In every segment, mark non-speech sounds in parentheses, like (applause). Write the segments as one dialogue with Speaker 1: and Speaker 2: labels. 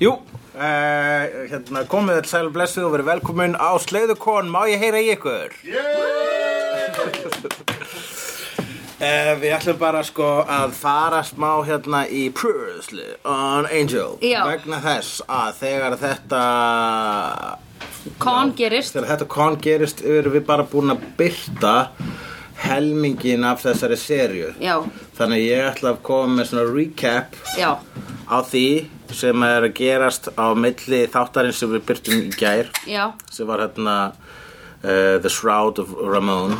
Speaker 1: Jú, uh, hérna, komið þér sæl og blessuð og verið velkomin á Sleiðukorn, má ég heyra í ykkur? Uh, við ætlum bara sko að fara smá hérna í Previously on Angel
Speaker 2: Já.
Speaker 1: vegna þess að þegar þetta
Speaker 2: Con gerist
Speaker 1: þegar þetta kon gerist erum við bara búin að byrta helmingin af þessari serju
Speaker 2: Já.
Speaker 1: þannig að ég ætla að koma með svona recap
Speaker 2: Já,
Speaker 1: á því sem er að gerast á milli þáttarins sem við byrtum í gær
Speaker 2: já,
Speaker 1: sem var hérna uh, The Shroud of Ramon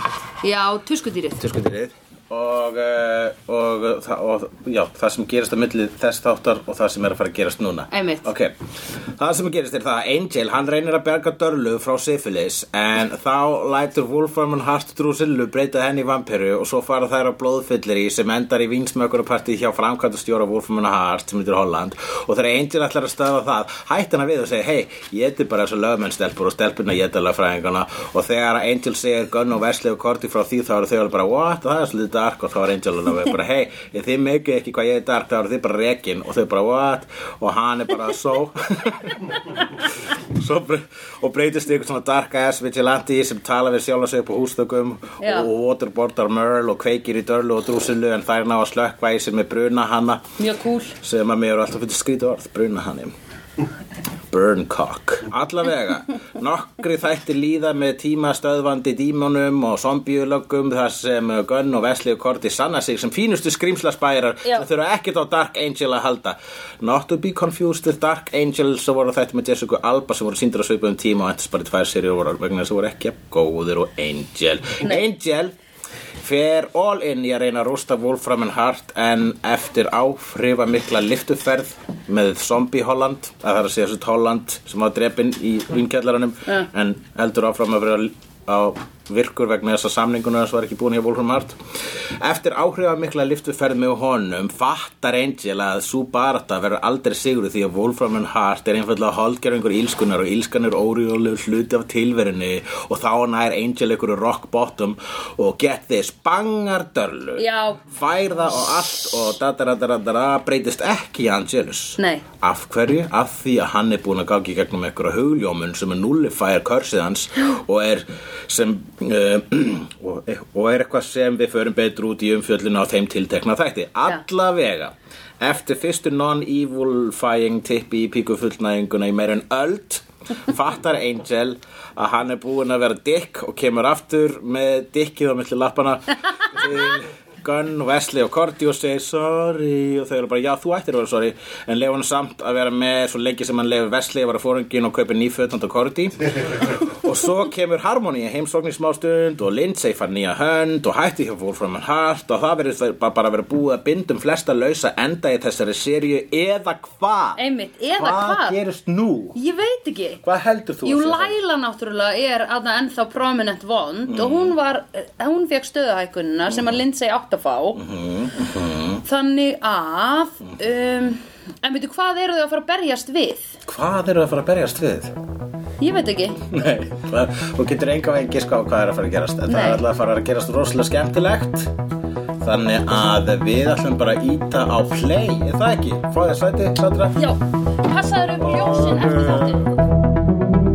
Speaker 2: já, tuskudýrið
Speaker 1: tískudýrið og, uh, og, þa- og, já, það sem gerist á milli þess þáttar og það sem er að fara að gerast núna
Speaker 2: Einmitt.
Speaker 1: Ok. Það sem gerist er það að Angel, hann reynir að berga Dörlu frá syfilis en þá lætur Wolfram og Hartdrúsillu breyta henni í vampiru og svo fara þær á blóðfyllir í sem endar í vinsmökkurpartið hjá framkvæmdastjóra Wolfram og Hart sem heitir Holland og þegar Angel ætlar að stöða það hætti hana við og segir, hei, ég eti bara þessu lögmennstelpur og stelpurna ég eti lögfræðingana og þegar Angel segir Gunn og Wesley og Korti frá því þá eru þau alveg bara, what, það er svolítið dark og þá er Angel alveg bara, hei, ég þið mikið ekki hvað ég er dark, þá eru þið bara rekin og þau bara, what, og hann er bara, so (laughs) Svo bre og breytist í eitthvað svona dark ass vigilante sem tala við sjálf sig upp á hústökum
Speaker 2: Já.
Speaker 1: og waterboardar Merle og kveikir í dörlu og drúsilu en þær ná að slökkva í sem er bruna hanna
Speaker 2: Mjög cool
Speaker 1: sem að mér eru alltaf fyrir skrítið orð, bruna hann Burncock Allavega, nokkri þætti líða með tímastöðvandi dímonum og zombiulöggum þar sem Gunn og Vesli og Korti sanna sig sem fínustu skrýmslaspærar
Speaker 2: Já.
Speaker 1: sem þurfa ekkert á Dark Angel að halda Not to be confused with Dark Angel svo voru þetta með Jessica Alba sem voru síndir að svipa um tíma og endast bara í tvær serjur voru vegna þess að voru ekki jafn góðir og Angel Angel fer all in í að reyna að rústa Wolfram and Hart en eftir áfrifa mikla liftuferð með zombie Holland að það er að segja þessu Holland sem var drepinn í vinkjallaranum
Speaker 2: Ja.
Speaker 1: en heldur áfram að vera á virkur vegna þess að samninguna þess var ekki búin hjá Wolfram Hart eftir áhrifa mikla liftuferð með honum fattar Angel að sú barata verður aldrei sigru því að Wolfram and Hart er einfallega holdgerfingur ílskunar og ílskan er órjúlega hluti af tilverinu og þá nær Angel ykkur rock bottom og get this bangar dörlu
Speaker 2: Já.
Speaker 1: fær það og allt og dadadadadadada breytist ekki í Angelus
Speaker 2: Nei.
Speaker 1: Af hverju? Af því að hann er búin að gangi í gegnum einhverja hugljómun sem er nullifæjar körsið hans og er sem uh, (clears throat) og, og er eitthvað sem við förum betur út í umfjöllinu á þeim tiltekna þætti. Allavega eftir fyrstu non-evil-fæing tippi í píku fullnæðinguna í meira en öld fattar Angel að hann er búin að vera dick og kemur aftur með dickið á milli lappana til Gunn, Wesley og Cordy og segir sorry og þau eru bara já þú ættir að vera sorry en lefa hann samt að vera með svo lengi sem hann lefa Wesley að vera fóringin og kaupi nýfötand og Cordy og svo kemur Harmony í heimsókn í smá stund og Lindsay fann nýja hönd og hætti hjá Wolfram and Hart og það verður bara, bara verið búið að bindum flesta lausa enda í þessari sériu eða hvað
Speaker 2: Einmitt, eða
Speaker 1: hvað
Speaker 2: hvað?
Speaker 1: gerist nú?
Speaker 2: Ég veit ekki
Speaker 1: Hvað heldur þú?
Speaker 2: Jú,
Speaker 1: að sé það?
Speaker 2: Laila náttúrulega er aðna ennþá prominent vond og
Speaker 1: Mm.
Speaker 2: hún var, eh, hún fekk stöðuhækunina sem að Lindsay átt að fá
Speaker 1: Mm-hmm,
Speaker 2: Þannig að
Speaker 1: Mm.
Speaker 2: um, En veitu, hvað eru þau að fara að berjast við?
Speaker 1: Hvað eru að fara að berjast við?
Speaker 2: Ég veit ekki
Speaker 1: (laughs) Nei, það, þú getur enga veginn giska á hvað er að fara að gerast en það
Speaker 2: Nei.
Speaker 1: er alltaf að fara að gerast rosalega skemmtilegt þannig að við ætlum bara að íta á play er það ekki? Fá þér sæti, Sandra?
Speaker 2: Já, passaður upp ljósin eftir þáttin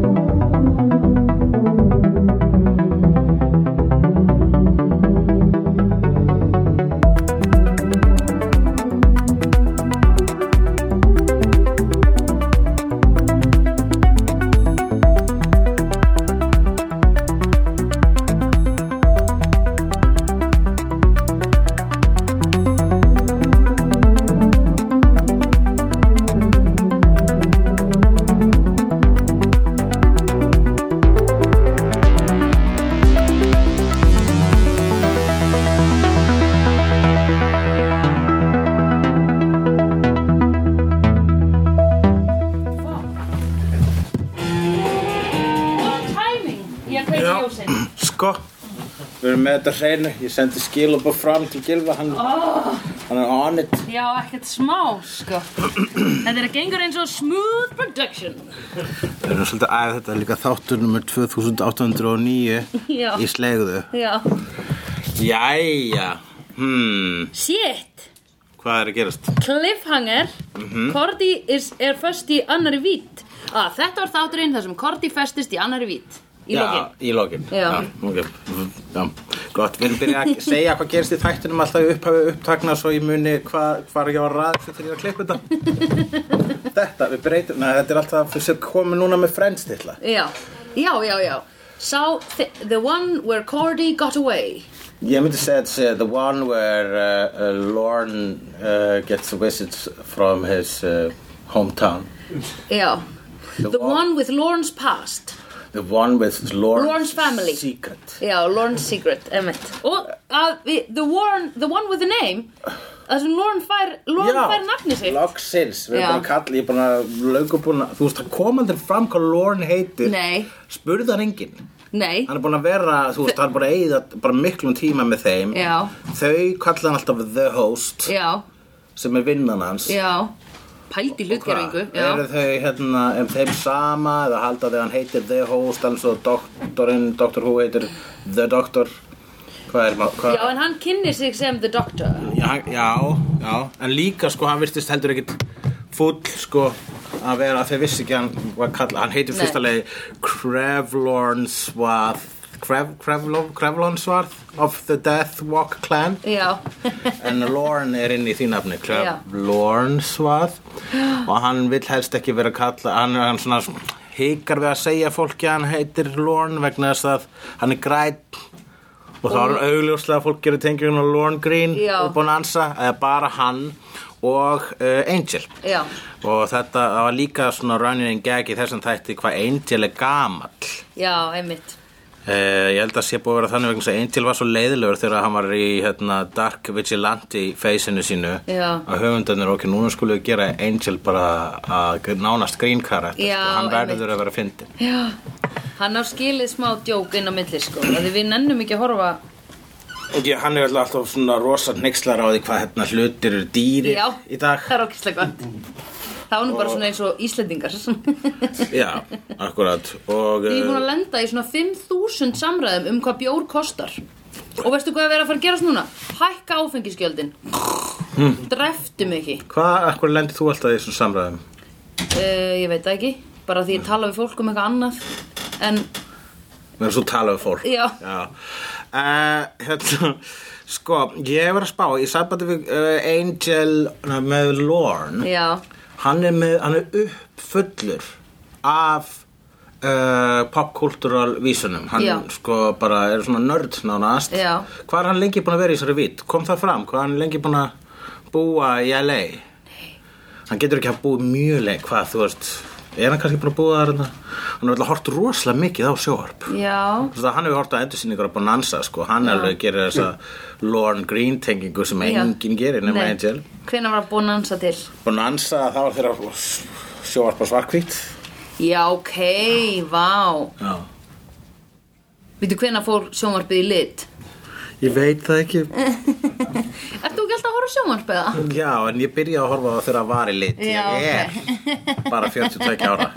Speaker 2: Good timing, ég kveik
Speaker 1: Já.
Speaker 2: ljósin
Speaker 1: Sko, við erum með þetta hreinu ég sendi skil og bara fram til Gilva hann, hann er on it
Speaker 2: Já, ekkert smá, sko. Þetta er að gengur eins og smooth production.
Speaker 1: Við erum svolítið að þetta er líka þáttur nummer 2809
Speaker 2: Já.
Speaker 1: í slegðu
Speaker 2: Já.
Speaker 1: Jæja, hmm
Speaker 2: Shit!
Speaker 1: Hvað er að gerast?
Speaker 2: Cliffhanger Korti is, er föst í annari vít ah, Þetta var þátturinn þar sem Korti festist í annari vít Í
Speaker 1: já,
Speaker 2: lokin
Speaker 1: Í lokin,
Speaker 2: Já.
Speaker 1: ok. Já, gott, við erum byrjað að segja hvað gerist í þættunum alltaf í upphafi upptakna svo ég muni hvað hva ég var ræð þegar ég var að klippa þetta. þetta, við breytum, neða, þetta er alltaf sem komið núna með Friends til það.
Speaker 2: Já, já, já, já Sá, the, the one where Cordy got away
Speaker 1: Ég myndi segja að segja the one where uh, uh, Lorne uh, gets visits from his uh, hometown.
Speaker 2: Já
Speaker 1: The
Speaker 2: The,
Speaker 1: one-
Speaker 2: one, with Lorne's past
Speaker 1: The one with Lorne's,
Speaker 2: Lorne's family.
Speaker 1: secret.
Speaker 2: Já, Lorne's secret, emmitt Og uh, the, one, the one with the name Það sem Lorne fær, Lorne fær nafni sitt
Speaker 1: loksins, við
Speaker 2: Já.
Speaker 1: erum búin að kalla, ég er búin að löngu búin að, þú veist, það kom aldrei fram hvað Lorne heitir.
Speaker 2: Nei.
Speaker 1: Spurði hann enginn.
Speaker 2: Nei,
Speaker 1: Hann er búin að vera, þú veist, hann er búin að eigða bara miklum tíma með þeim.
Speaker 2: Já.
Speaker 1: Þau kalla hann alltaf The Host,
Speaker 2: já,
Speaker 1: sem er vinnan hans.
Speaker 2: já Pældi hlutgerfingu já.
Speaker 1: Eru þau hérna um þeim sama eða halda þau að hann heitir The Host alveg svo doktorinn, Doctor Who heitir The Doctor Hvað er maður? Hvað?
Speaker 2: já, en hann kynni sig sem the doctor
Speaker 1: Já, já, já, en líka sko hann virtist heldur ekkit full sko að vera að þau vissi ekki hann hvað kalla, hann heitir
Speaker 2: Nei.
Speaker 1: fyrsta leiði Krevlorn Swarth Krev, Krevlon, Krevlon Swarth of the Deathwalk Clan
Speaker 2: Já,
Speaker 1: En Lorne er inn í því nafni
Speaker 2: Já.
Speaker 1: Lorne Svað
Speaker 2: (gasps)
Speaker 1: og hann vill helst ekki vera að kalla hann, hann svona hikar við að segja fólki að hann heitir Lorne vegna þess að hann er græt og þá er hann augljóslega að fólk gerir tengjum á Lorne Green
Speaker 2: Já.
Speaker 1: og búin að ansa eða bara hann og uh, Angel
Speaker 2: já,
Speaker 1: og þetta það var líka svona running gag í þessum þætti hvað Angel er gamall
Speaker 2: já, einmitt
Speaker 1: Uh, ég held að sé búið að vera þannig vegna þess að Angel var svo leiðilegur þegar hann var í hérna, Dark Vigilante feysinu sínu
Speaker 2: Já.
Speaker 1: að höfundarnir okkur núna skulle við gera Angel bara að nánast green karat
Speaker 2: Já,
Speaker 1: hann verður
Speaker 2: einmitt.
Speaker 1: að vera fyndin
Speaker 2: Já, hann á skilið smá djók inn á milli sko af Því við nennum ekki að horfa
Speaker 1: og ég, hann er alltaf svona rosa neykslar á því hvað hérna, hlutir eru dýri
Speaker 2: Já,
Speaker 1: í dag
Speaker 2: það er okkislega gott Það var nú bara svona eins og Íslendingar Ég
Speaker 1: já, akkurat og eh,
Speaker 2: er búin að lenda í svona 5.000 samræðum um hvað bjór kostar Og veistu hvað er verið að fara að gerast núna? Hækka áfengisgjöldin Dreftum ekki
Speaker 1: hvað, akkur lendir þú alltaf í þessum samræðum?
Speaker 2: uh, Ég veit það ekki Bara því ég tala við fólk um eitthvað annað En
Speaker 1: Mér er svo talað við fólk
Speaker 2: Já.
Speaker 1: Eh, hérna, Sko, ég var að spá Í sambandi við uh, Angel na, með Lorne
Speaker 2: já,
Speaker 1: hann, er með, hann er uppfullur af uh, popkultúral vísunum Hann
Speaker 2: Já.
Speaker 1: sko bara er svona nörd nánast
Speaker 2: Já.
Speaker 1: Hvað er hann lengi búin að vera í þessari vít? Kom það fram? Hvað er hann lengi búin að búa í LA? Hann getur ekki að búa mjög leik Hvað, þú veist Er hann kannski búin að búa þar? hérna? Hann er alltaf hort rosalega mikið á sjóarp
Speaker 2: já
Speaker 1: Þú veist að hann hefur hort á endursýningur á Bonanza sko, hann alveg gerir þessa Lorne Green tengingu sem
Speaker 2: Já.
Speaker 1: enginn gerir nema
Speaker 2: Nei.
Speaker 1: Angel.
Speaker 2: Hvenær var búin að ansa til?
Speaker 1: Bonanza þá var þeirra sjóvarpa svarkvít.
Speaker 2: Já, ok, vá
Speaker 1: Já.
Speaker 2: Veitu hvenær fór sjónvarpið í lit?
Speaker 1: Ég veit það ekki.
Speaker 2: Ert þú ekki alltaf að horfa á sjónvarpið það?
Speaker 1: (laughs) Já, en ég byrjaði að horfa á það þegar það var í lit.
Speaker 2: Já,
Speaker 1: ég er
Speaker 2: (laughs)
Speaker 1: bara 42 ára.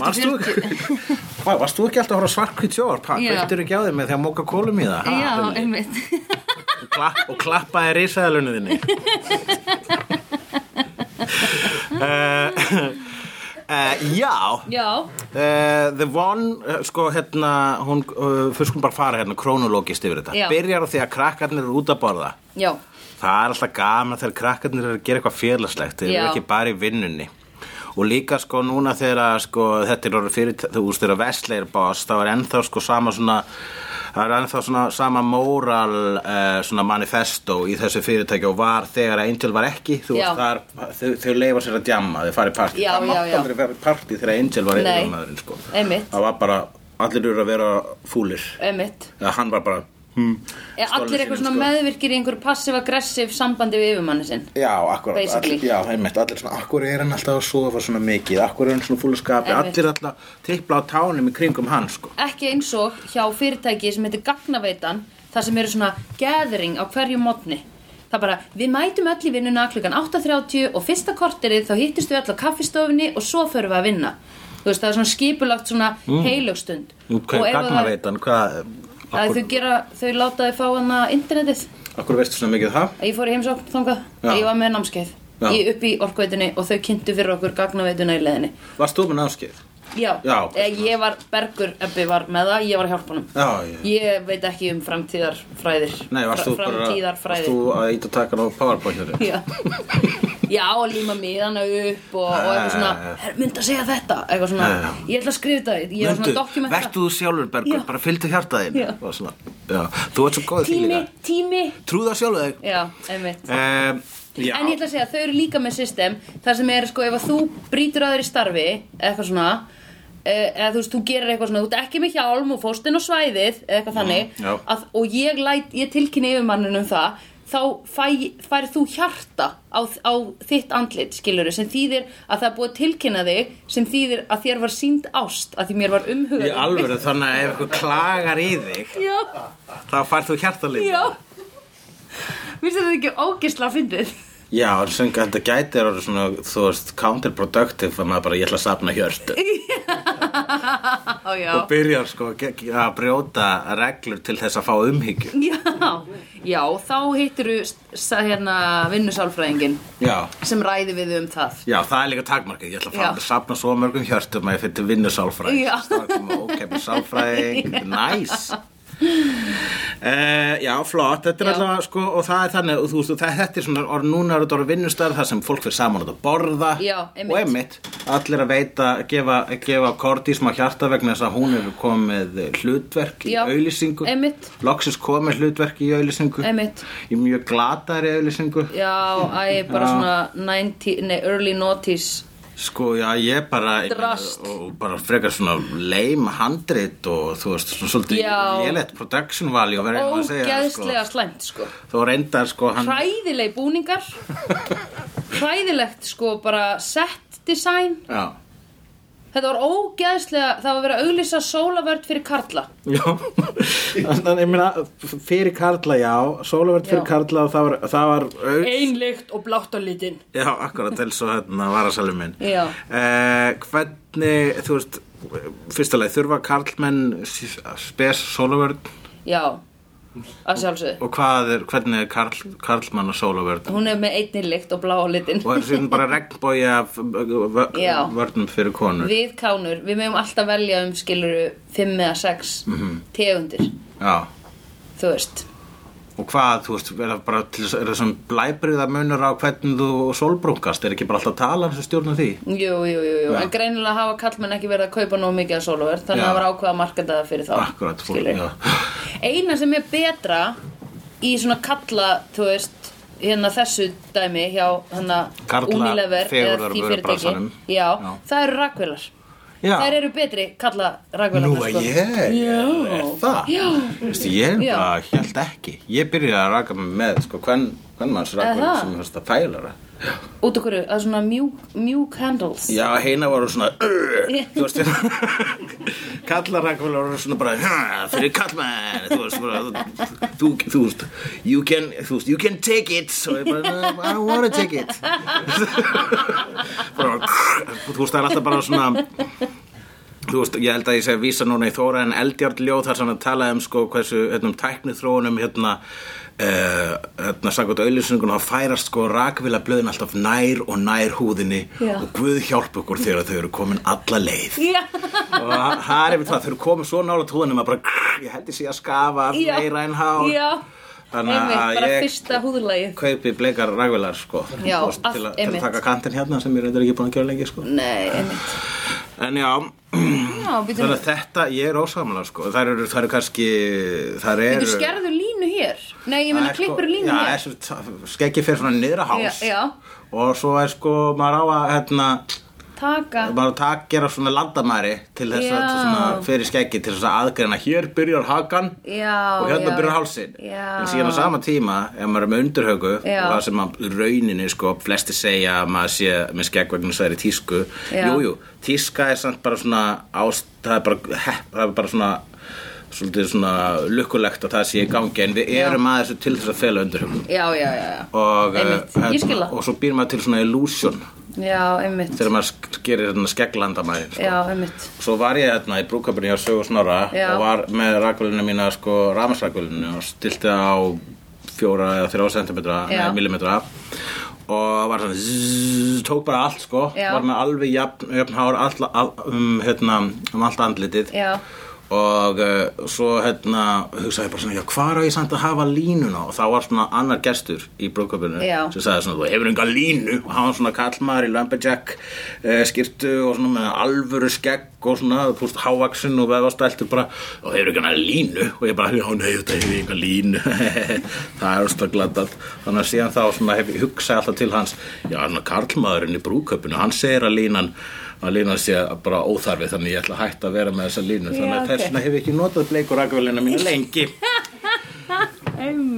Speaker 1: Varstu ekki, Vá, varst þú ekki alltaf að horfa á svarkvít sjóvarpa?
Speaker 2: Já.
Speaker 1: Veittur ekki á þeim með því að móka kólum í það? Ha,
Speaker 2: Já,
Speaker 1: Hulli?
Speaker 2: einmitt
Speaker 1: og, klapp, og klappaði risaðalunni þinni uh, uh, Já
Speaker 2: (laughs) Já,
Speaker 1: Uh, the One, uh, sko hérna hún, uh, fyrst hún bara fara hérna krónulógist yfir þetta,
Speaker 2: Já.
Speaker 1: byrjar á því að krakkarnir eru út að borða,
Speaker 2: já,
Speaker 1: það er alltaf gaman þegar krakkarnir eru að gera eitthvað félagslegt þeir eru
Speaker 2: Já.
Speaker 1: ekki bara í vinnunni og líka sko núna þegar að, sko, þetta er orðið fyrir, þú veist þegar Vesleir boss þá er ennþá sko sama svona það er ennþá svona sama moral uh, svona manifesto í þessu fyrirtæki og var þegar að Angel var ekki þú
Speaker 2: Já.
Speaker 1: veist þar, þau, þau leifa sér að djamma þau farið partí,
Speaker 2: Já,
Speaker 1: það
Speaker 2: já, já.
Speaker 1: mátt aldrei verið partí þegar Angel var
Speaker 2: Nei.
Speaker 1: yfirmaðurinn sko
Speaker 2: Einmitt.
Speaker 1: það var bara, allir eru að vera fúlir
Speaker 2: einmitt
Speaker 1: eða hann var bara hmm,
Speaker 2: Er
Speaker 1: stolið
Speaker 2: allir eitthvað
Speaker 1: sínum,
Speaker 2: svona
Speaker 1: sko.
Speaker 2: meðvirkir í einhverju passiv-aggressiv sambandi við yfirmanni sinn?
Speaker 1: Já, akkurat,
Speaker 2: Basically.
Speaker 1: allir, já, einmitt, allir svona, akkur er hann alltaf að sofa svona mikið, akkur er hann svona fúlu skapi,
Speaker 2: Einmitt.
Speaker 1: allir alltaf tippla á tánum í kringum hann, sko.
Speaker 2: Ekki eins og hjá fyrirtæki sem heitir Gagnaveitan þar sem eru svona gathering á hverju mótni Það er bara, við mætum öll í vinnuna klukkan 8.30 og fyrsta korterið þá hittist við öll á kaffistofunni og svo förum við að vinna Þú veist, það er svona skipulagt svona mm. heilugstund
Speaker 1: Hvað,
Speaker 2: Og ef að-
Speaker 1: gagnaveitan, hvað, eh,
Speaker 2: að þau gera, þau láta þau fá hana internetið
Speaker 1: Akkur veistu svona mikið það?
Speaker 2: Ég fór í heimsókn þangað,
Speaker 1: Já.
Speaker 2: ég var með námskeið
Speaker 1: Já.
Speaker 2: Ég upp í orkveitunni og þau kynntu fyrir okkur gagnaveituna í leðinni
Speaker 1: Varst þú með námskeið?
Speaker 2: Já,
Speaker 1: Já.
Speaker 2: Eh, ég var, Bergur Ebbi var með það, ég var að hjálpa honum
Speaker 1: Já, ég...
Speaker 2: Ég veit ekki um framtíðarfræðir
Speaker 1: Nei, varst þú bara... Varst
Speaker 2: Framtíðarfræðir
Speaker 1: þú að íta takan á powerpointinu?
Speaker 2: Já, (laughs) já og líma miðana upp og, og eitthvað svona,
Speaker 1: Ja, ja, ja.
Speaker 2: "Herra, myndi að segja þetta, eitthvað svona,
Speaker 1: Ja, ja.
Speaker 2: ég ætla að skrifa þetta, ég er svona að dokumenta.
Speaker 1: vertu þú sjálfur, Bergur,
Speaker 2: Já.
Speaker 1: bara fylgdu hjarta þín.
Speaker 2: Já.
Speaker 1: Og svona, já. Þú ert svo góð því
Speaker 2: Tími,
Speaker 1: líka.
Speaker 2: tími,
Speaker 1: Trúða sjálfur þig.
Speaker 2: já, einmitt.
Speaker 1: Um, já.
Speaker 2: En ég ætla að segja, þau eru líka með system, þar sem er sko, ef að þú brýtur að þér í starfi, eitthvað svona, eh, eða þú veist, þú gerir eitthvað svona, þú ert ekki með hjálm og fórst inn á svæðið, eða eitthvað
Speaker 1: Mm, já.
Speaker 2: þannig, að, og ég, læt, ég tilkynni yfirmanninu um það, þá fæ, fær þú hjarta á, á þitt andlit, skilur sem þýðir að það er búið að tilkynna þig, sem þýðir að þér var sínd ást, að því mér var umhugað.
Speaker 1: Í alvöru, þannig að ef eitthvað klagar í þig,
Speaker 2: (laughs) Já,
Speaker 1: þá fær þú hjartalíð.
Speaker 2: já. Mér finnst þetta ekki ógisla fyndið. (laughs)
Speaker 1: Já, en sem þetta gæti er orðið svona, þú veist, counterproductive, þannig að bara ég ætla að safna hjörtu.
Speaker 2: Á, já.
Speaker 1: og byrjar sko ge- ge- að brjóta reglur til þess að fá umhyggju
Speaker 2: Já, já, þá hittir þú hérna vinnusálfræðingin
Speaker 1: já,
Speaker 2: sem ræði við þig um það.
Speaker 1: já það er líka takmarkið ég ætla að fara
Speaker 2: Já.
Speaker 1: að safna svo mörgum hjörtum að ég fyrir vinnu
Speaker 2: Já.
Speaker 1: sálfræðing
Speaker 2: (laughs)
Speaker 1: ókeppi sálfræðing, næs Uh, já, flott, þetta er
Speaker 2: Já.
Speaker 1: allavega sko og það er þannig, og þú veist, og það- þetta er svona orð, núna eru þetta orðið vinnustöðar þar sem fólk fyrir saman að borða
Speaker 2: Já, einmitt.
Speaker 1: og einmitt allir að veita, gefa, gefa Korti smá hjarta vegna þess að hún er komið hlutverk í
Speaker 2: Já,
Speaker 1: auðlýsingu
Speaker 2: einmitt.
Speaker 1: loksins komið hlutverk í auðlýsingu
Speaker 2: Einmitt.
Speaker 1: í mjög glatari auðlýsingu
Speaker 2: Já, æ, bara svona 90, nei, early noughties.
Speaker 1: Sko, já, ég bara
Speaker 2: Drast.
Speaker 1: og bara frekar svona leim handrit og þú veist, svona svolítið
Speaker 2: Já.
Speaker 1: lélegt production value og verið að segja
Speaker 2: Ógeðslega
Speaker 1: sko.
Speaker 2: slæmt, sko.
Speaker 1: Þó reyndar, sko, hann
Speaker 2: Hræðileg
Speaker 1: (laughs)
Speaker 2: búningar, hræðilegt, sko, bara set design.
Speaker 1: Já,
Speaker 2: Þetta var ógeðslega, það var verið að auglýsa sólavörd fyrir karla.
Speaker 1: já Þannig, ég meina, fyrir Karla, já Sólavert fyrir
Speaker 2: Já.
Speaker 1: Karla og það var, það var au...
Speaker 2: Einlegt og blátt á litin.
Speaker 1: Já, akkurat, til svo hérna varasalum minn
Speaker 2: Já.
Speaker 1: Eh, Hvernig, þú veist Fyrsta leið, þurfa Karlmenn spes Sólavert
Speaker 2: Já, að sjálfsögðu.
Speaker 1: og hvað er, hvernig er Karl, Karlmann og Sólavert
Speaker 2: Hún er með einni lykt og blá á litin.
Speaker 1: og það er síðan bara regnbói af vö-
Speaker 2: Já.
Speaker 1: vörnum fyrir konur
Speaker 2: Við kánur, við mögum alltaf velja um skiluru fimm eða sex
Speaker 1: Mhm.
Speaker 2: tegundir,
Speaker 1: já.
Speaker 2: þú veist.
Speaker 1: og hvað, þú veist, er það bara til, er það svona blæbriða munur á hvernig þú sólbrúkast, er ekki bara alltaf talan sem stjórna því
Speaker 2: Jú, jú, jú, jú.
Speaker 1: Já.
Speaker 2: en greinilega hafa kallmenn ekki verið að kaupa nóg mikið af sóluverð, þannig
Speaker 1: Já.
Speaker 2: að það var ákveða að marka það fyrir þá.
Speaker 1: akkurat, fólk,
Speaker 2: skilurðu.
Speaker 1: já,
Speaker 2: Eina sem er betra í svona kalla, þú veist, hérna þessu dæmi hjá hérna
Speaker 1: Karla
Speaker 2: Unilever eða því fyrirtæki,
Speaker 1: fegurðarvörubransanum.
Speaker 2: já,
Speaker 1: Já.
Speaker 2: það eru rakvélar.
Speaker 1: já.
Speaker 2: Þær eru betri kalla rakvélar.
Speaker 1: nú að ég er það
Speaker 2: Já.
Speaker 1: Vistu, ég
Speaker 2: Já.
Speaker 1: bara held ekki ég byrjaði að raka mig með sko, hvern, hvern manns raka
Speaker 2: Eða?
Speaker 1: sem fyrst að þægilega
Speaker 2: Út okkur, það er svona mjúk, mjúk handles.
Speaker 1: já, heina voru svona þú veist, (laughs) kallarrakvel voru svona bara "Ha, fyrir kallmenn þú veist, bara, þú, þú veist you can, þú veist, you can take it og ég bara, "No, I don't wanna take it bara, þú veist, það er alltaf bara svona Þú veist, ég held að ég segi að vísa núna í Þóra en Eldjárnljóð þar sem að tala um sko hversu, hérna, um tækniþróunum, hérna, uh, hérna, sagði auðlýsingun og það færast sko rakvila blöðin alltaf nær og nær húðinni
Speaker 2: Já.
Speaker 1: og Guð hjálp okkur þegar þau eru komin alla leið
Speaker 2: Já.
Speaker 1: og það það er einmitt það, þau eru komin svo nála tóðanum að bara, krr, ég held ég sé að skafa af
Speaker 2: Já.
Speaker 1: meira en hár
Speaker 2: Já.
Speaker 1: þannig
Speaker 2: Einmitt,
Speaker 1: að
Speaker 2: bara
Speaker 1: ég
Speaker 2: fyrsta húðlægið.
Speaker 1: kaupi bleikar rakvilar sko
Speaker 2: Já,
Speaker 1: Þú veist, til,
Speaker 2: allt,
Speaker 1: að, til að
Speaker 2: einmitt.
Speaker 1: taka kantinn hérna sem ég reyndar ekki búin að gera lengi sko
Speaker 2: Nei, einmitt.
Speaker 1: en já,
Speaker 2: Já, býtum
Speaker 1: Þannig að þetta, ég er ósamlega sko, þær eru, þær eru kannski, þær eru...
Speaker 2: Þú skerðu línu hér? Nei, ég meina
Speaker 1: Það er
Speaker 2: klippur
Speaker 1: sko-
Speaker 2: línu
Speaker 1: Já,
Speaker 2: hér?
Speaker 1: þessu t- skeggi fyrir svona niður að háls
Speaker 2: Já, já.
Speaker 1: og svo er sko, maður á að, hérna,
Speaker 2: Taka.
Speaker 1: maður á að tak- gera svona landamæri til þess að,
Speaker 2: Já.
Speaker 1: svona, fyrir skeggi til þess að aðgreina, hér byrjar hakan
Speaker 2: Já,
Speaker 1: og hérna
Speaker 2: já.
Speaker 1: byrjar hálsinn. hérna
Speaker 2: Já.
Speaker 1: En síðan á sama tíma, ef maður er með undurhaugu,
Speaker 2: Já.
Speaker 1: og það sem að í rauninni, sko, flesti segja að maður sé með skegg vegna þess að það er í tísku.
Speaker 2: Já.
Speaker 1: Jú, jú, tíska er samt bara svona, ást, það er bara, hepp, það er bara svona, svolítið svona lukkulegt að það sé í gangi, en við
Speaker 2: Já.
Speaker 1: erum að þessu til þess að fela undurhaugu.
Speaker 2: Já, já, já, já.
Speaker 1: Og, eh,
Speaker 2: Einmitt. Ég skil það.
Speaker 1: og svo býr maður til svona illusion
Speaker 2: Já, einmitt.
Speaker 1: þegar maður sk- gerir hérna skegglandamæri sko.
Speaker 2: Já, einmitt.
Speaker 1: Svo var ég hérna í brúkabinu hjá Sögu Snorra
Speaker 2: Já.
Speaker 1: og var með rakvölinu mína, sko, rafmagsrakvölinu og stilti það á fjóra eða þrjá sentimetra,
Speaker 2: Já.
Speaker 1: nei, millimetra og var svona zzz, tók bara allt sko,
Speaker 2: Já.
Speaker 1: var með alveg jafn, jafn hár all, all, um, hérna, um allt andlitið
Speaker 2: Já.
Speaker 1: og uh, svo hérna hugsaði ég bara svona, já hvar á ég samt að hafa línuna og þá var svona annar gestur í brúðköpunum
Speaker 2: Já.
Speaker 1: sem sagði svona, þú hefur enga línu og hann var svona kallmaður í lumberjack uh, skýrtu og svona með alvöru skegg og svona, þú veist, hávaksin og vefastæltur bara, og hefur enga línu og ég bara, já nei, þetta hefur enga línu (laughs) það er svona glatað þannig að síðan þá svona hef ég hugsað alltaf til hans já, hann kallmaðurinn í brúðköpunum hann segir að línan að línan sé bara óþarfi þannig ég ætla að hætta að vera með þessa línu þannig
Speaker 2: Já,
Speaker 1: að
Speaker 2: ok.
Speaker 1: þess vegna hef ég ekki notað bleikur rakvælina
Speaker 2: (laughs)
Speaker 1: mínu lengi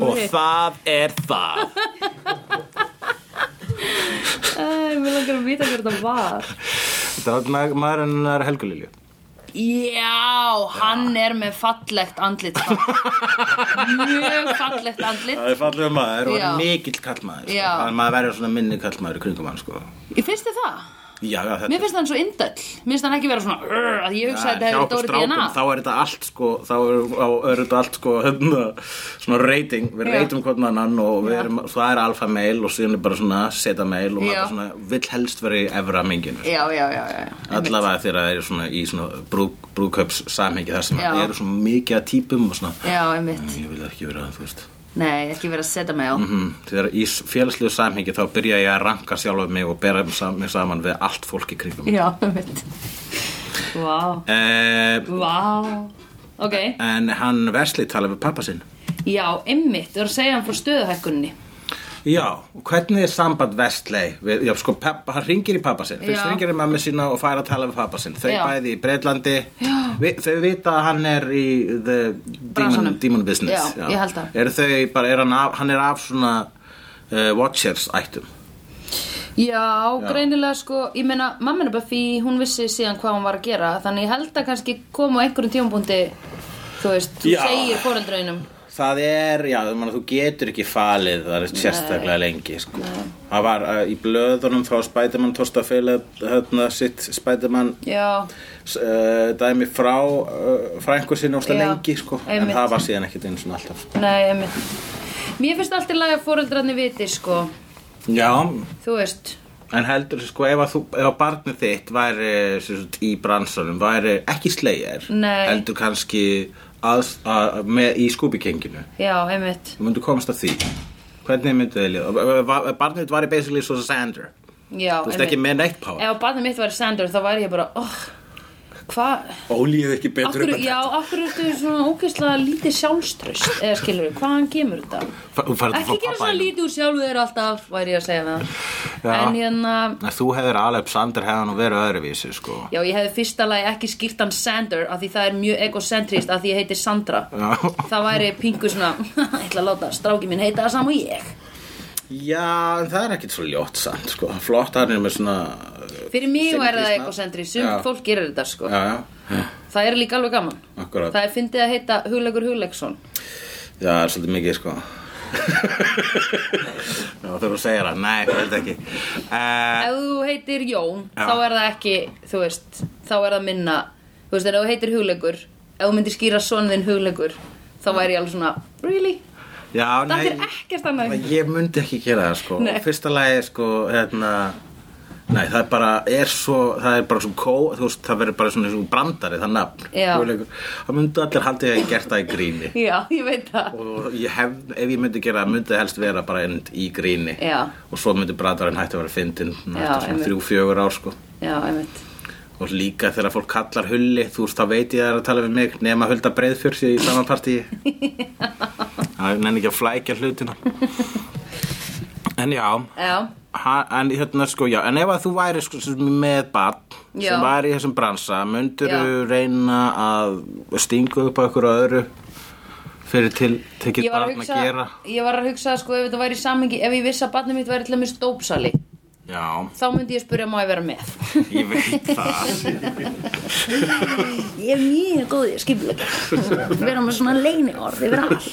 Speaker 1: og það er það
Speaker 3: Æ, mér langar að vita hver þetta var.
Speaker 1: Það var maður hennar Helgulilju
Speaker 2: Já, hann er með fallegt
Speaker 1: (laughs)
Speaker 2: andlit Mjög fallegt andlit
Speaker 1: Það er fallega maður og
Speaker 2: Já.
Speaker 1: hann er mikill kallmaður sko.
Speaker 2: Já.
Speaker 1: Það er maður verið svona minni kallmaður í kringum hann sko.
Speaker 2: Ég finnst þið það?
Speaker 1: Já, já, þetta
Speaker 2: Mér finnst hann svo indöll Mér finnst hann ekki vera svona "Urr", að Ég hugsa að þetta
Speaker 1: hjá
Speaker 2: hefur
Speaker 1: okkur
Speaker 2: Dóri DNA
Speaker 1: strákum, Þá er þetta allt sko Þá er, á, er þetta allt sko hérna, Svona reyting, við
Speaker 2: Já.
Speaker 1: reytum hvort maður annan Og við erum, það er alfa mail Og síðan er bara svona seta mail Og
Speaker 2: Já.
Speaker 1: maður bara svona vill helst verið í efra minginu
Speaker 2: Já, já, já, já, já.
Speaker 1: Allavega þegar það er svona í svona brú, brúköps samhengi þar sem
Speaker 2: Já.
Speaker 1: það eru svona mikið að típum og svona Mm,
Speaker 2: Já, einmitt
Speaker 1: Ég vil ekki vera, þú veist
Speaker 2: Nei, ekki vera að setja mig á
Speaker 1: Mhm. Þegar í félagslegu samhengi þá byrja ég að ranka sjálfa mig og bera mig sam- mig saman við allt fólk í kringum mig.
Speaker 2: Já, einmitt Vá,
Speaker 1: Eh,
Speaker 2: vá Ok,
Speaker 1: en hann Vesli talaði við pappa sinn.
Speaker 2: já, einmitt Þú er að segja hann frá stöðuhækkunni
Speaker 1: Já, og hvernig er samband Vestley? Við, já, sko, pappa, hann ringir í pappa sinn. Fyrst
Speaker 2: Já.
Speaker 1: ringir í mamma sína og fær að tala við pappa sinn. Þau
Speaker 2: Já.
Speaker 1: bæði í Breitlandi. Vi, þau vita að hann er í the demon,
Speaker 2: Bransanum.
Speaker 1: demon business.
Speaker 2: Já, ég held það.
Speaker 1: Eru þau bara, er hann, af, hann er af svona uh, watchers ættum.
Speaker 2: Já,
Speaker 1: Já.
Speaker 2: greinilega sko, ég meina mamma hennar Buffy, hún vissi síðan hvað hún var að gera þannig ég held að kannski koma á einhverjum tímapunkti þú veist, þú
Speaker 1: Já.
Speaker 2: segir fóreldraunum
Speaker 1: Það er, já, þú, mann, þú getur ekki falið það er sérstaklega lengi sko. það var uh, í blöðunum frá Spiderman tósta feila hérna, sitt Spiderman
Speaker 2: Já,
Speaker 1: uh, dæmi frá uh, frængur sinni ósla
Speaker 2: Já,
Speaker 1: lengi sko. en
Speaker 2: einmitt.
Speaker 1: það var síðan ekkert eins og alltaf
Speaker 2: nei, einmitt Mér finnst alltaf læg að fóreldrarnir viti sko,
Speaker 1: Já,
Speaker 2: þú veist
Speaker 1: en heldur sko ef, að þú, ef að barnið þitt væri sem sagt, í bransanum, væri ekki slegjar
Speaker 2: Nei.
Speaker 1: heldur kannski að, að, með, í skúbikenginu
Speaker 2: Já, einmitt,
Speaker 1: þú myndu komast að því hvernig myndu þið líða barnið þitt væri basically svo Sander
Speaker 2: já,
Speaker 1: þú veist ekki með neitt power
Speaker 2: Ef barnið mitt væri Sander þá væri ég bara, oh, hvað
Speaker 1: ólíðið ekki betur
Speaker 2: Akkur,
Speaker 1: upp en
Speaker 2: já,
Speaker 1: þetta.
Speaker 2: akkur ertu svona ógeðslega lítið sjálfströst eða skilur við, hvaðan kemur þetta?
Speaker 1: Fa- þú færð
Speaker 2: Ekki
Speaker 1: frá
Speaker 2: gera
Speaker 1: pabba
Speaker 2: svona
Speaker 1: þínum.
Speaker 2: lítið úr sjálfu þér alltaf, væri ég að segja það.
Speaker 1: Já.
Speaker 2: En hérna,
Speaker 1: Nei, þú hefur alveg Sander hefði nú verið öðruvísi sko.
Speaker 2: já, ég hefði fyrsta lagi ekki skýrt hann Sander af því það er mjög egocentrist af því ég heiti Sandra.
Speaker 1: Já. (laughs)
Speaker 2: Það væri pingu svona, (laughs) ég ætla að láta stráki minn heita það saman og ég.
Speaker 1: já, en það er ekkit svo ljótt samt sko. flott hann er með svona
Speaker 2: Fyrir mig
Speaker 1: Sem
Speaker 2: væri það
Speaker 1: kristna.
Speaker 2: egocentrist, sumt
Speaker 1: Já.
Speaker 2: fólk gerir þetta sko.
Speaker 1: já, já,
Speaker 2: Það er líka alveg gaman.
Speaker 1: akkurat
Speaker 2: Það er fyndið að heita Hugleikur Hugleiksson.
Speaker 1: já, það er svolítið mikið sko. (laughs) já, þurfum að segja það nei, ég held ekki uh,
Speaker 2: Ef þú heitir Jón,
Speaker 1: Já.
Speaker 2: þá er það ekki, þú veist, þá er það minna, þú veist, en ef þú heitir Hugleikur, ef þú myndir skýra sonið þinn Hugleikur, þá væri ég alveg svona, really? (laughs)
Speaker 1: já,
Speaker 2: Það er ekkert annað.
Speaker 1: Ég myndi ekki gera það sko
Speaker 2: Nei.
Speaker 1: Fyrsta lagi sko hérna, Nei, það er bara, er svo, það er bara svo kó, þú veist, það verður bara svona, svona brandari, það nafn.
Speaker 2: Já.
Speaker 1: Hugleikur. Það myndu allir haldið að ég hef gert það í gríni.
Speaker 2: Já, ég veit það.
Speaker 1: Og ég hef, ef ég myndi gera það, myndi það helst vera bara end í gríni.
Speaker 2: Já.
Speaker 1: Og svo myndi brandarinn hætti að vera fyndin,
Speaker 2: Já,
Speaker 1: þetta svona
Speaker 2: einmitt.
Speaker 1: þrjú, fjögur ár sko.
Speaker 2: Já, einmitt.
Speaker 1: Og líka þegar fólk kallar hulli, þú veist, þá veit ég að það er að tala við mig, nema hulda breiðfjörs í saman
Speaker 2: (laughs)
Speaker 1: partíi. Það nenni ekki að flækja hlutina. En já,
Speaker 2: Já,
Speaker 1: ha, en, hérna, sko, já, en ef að þú væri sko, sem með barn
Speaker 2: Já.
Speaker 1: sem væri í þessum bransa myndur
Speaker 2: Já.
Speaker 1: reyna að stingu upp á ykkur öðru fyrir til tekið
Speaker 2: ég var,
Speaker 1: barn
Speaker 2: að
Speaker 1: að
Speaker 2: hugsa,
Speaker 1: gera
Speaker 2: ég var að hugsa, sko, ef þetta væri í samhengi, ef ég vissi að barnið mitt væri til að mista dópsali,
Speaker 1: Já,
Speaker 2: þá myndi ég spurja, má ég vera með?
Speaker 1: ég veit
Speaker 2: (laughs)
Speaker 1: það
Speaker 2: Ég er mjög góð, ég skiplega. vera með svona leini orð, yfir allt.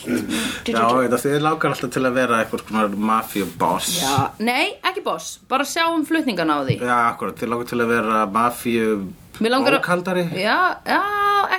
Speaker 1: Já, þetta þið lákar alltaf til að vera eitthvað konar mafíuboss
Speaker 2: Já, nei, ekki boss, bara sjá um flutningana á því.
Speaker 1: Já, akkurat, þið lákar til að vera mafíu
Speaker 2: Mér langar
Speaker 1: bókaldari
Speaker 2: Já, já,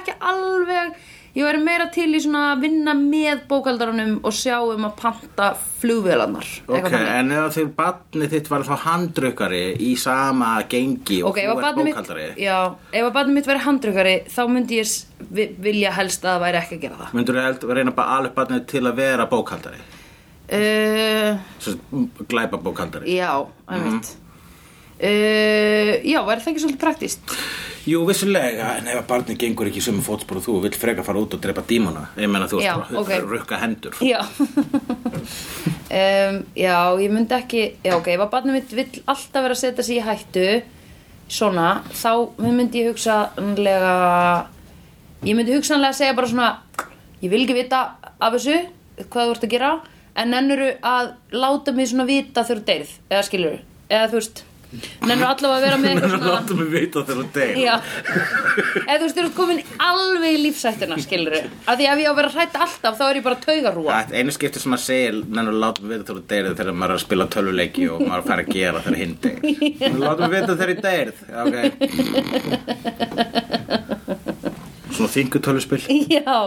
Speaker 2: ekki alveg Ég væri meira til í svona að vinna með bókaldarunum og sjá um að panta flugvélarnar. eitthvað
Speaker 1: Ok,
Speaker 2: þannig.
Speaker 1: en ef þegar barnið þitt var þá handrukkari í sama gengi og
Speaker 2: Ok, ef
Speaker 1: þú
Speaker 2: að
Speaker 1: ert
Speaker 2: barnið
Speaker 1: bókaldari
Speaker 2: mitt, já, ef að barnið mitt væri handrukari þá myndi ég s- vi- vilja helst að það væri ekki að gera það.
Speaker 1: myndur þú reyna bara alveg barnið til að vera bókaldari mm,
Speaker 2: Uh,
Speaker 1: glæpa bókaldari
Speaker 2: já,
Speaker 1: Mhm.
Speaker 2: einmitt. Uh, já, væri það ekki svolítið praktíst?
Speaker 1: Jú, vissulega, en ef að barnið gengur ekki sem fótspor og þú vill freka fara út og drepa dímona ég menna þú
Speaker 2: Já,
Speaker 1: veist bara
Speaker 2: ok.
Speaker 1: að rukka (laughs) hendur
Speaker 2: Já um, Já, ég myndi ekki Já, ok, ef að barnið mitt vill alltaf vera að setja sig í hættu Svona, þá myndi ég hugsanlega Ég myndi hugsanlega segja bara svona Ég vil ekki vita af þessu Hvað þú ert að gera En nennuru að láta mig svona vita þegar þú deyrð Eða skilur Eða þú veist Nennuru allavega að
Speaker 1: (laughs)
Speaker 2: vera með
Speaker 1: Þannig
Speaker 2: eitthvað
Speaker 1: að
Speaker 2: svona
Speaker 1: láta mig vita þegar þú deyr
Speaker 2: Já Eða þú veist, þú ert komin alveg í lífsættuna, skilur Af því ef ég á að vera hrætt alltaf, þá er ég bara taugarúa
Speaker 1: Það er Sko, einu skipti sem maður segir Nennar látum við þegar þú deyrið þegar maður er að spila tölvuleiki og maður fær að gera þegar hinn
Speaker 2: (laughs)
Speaker 1: deyr Látum við þegar ég deyrið okay. Svona þingu tölvuspil
Speaker 2: (laughs) Já,
Speaker 1: uh,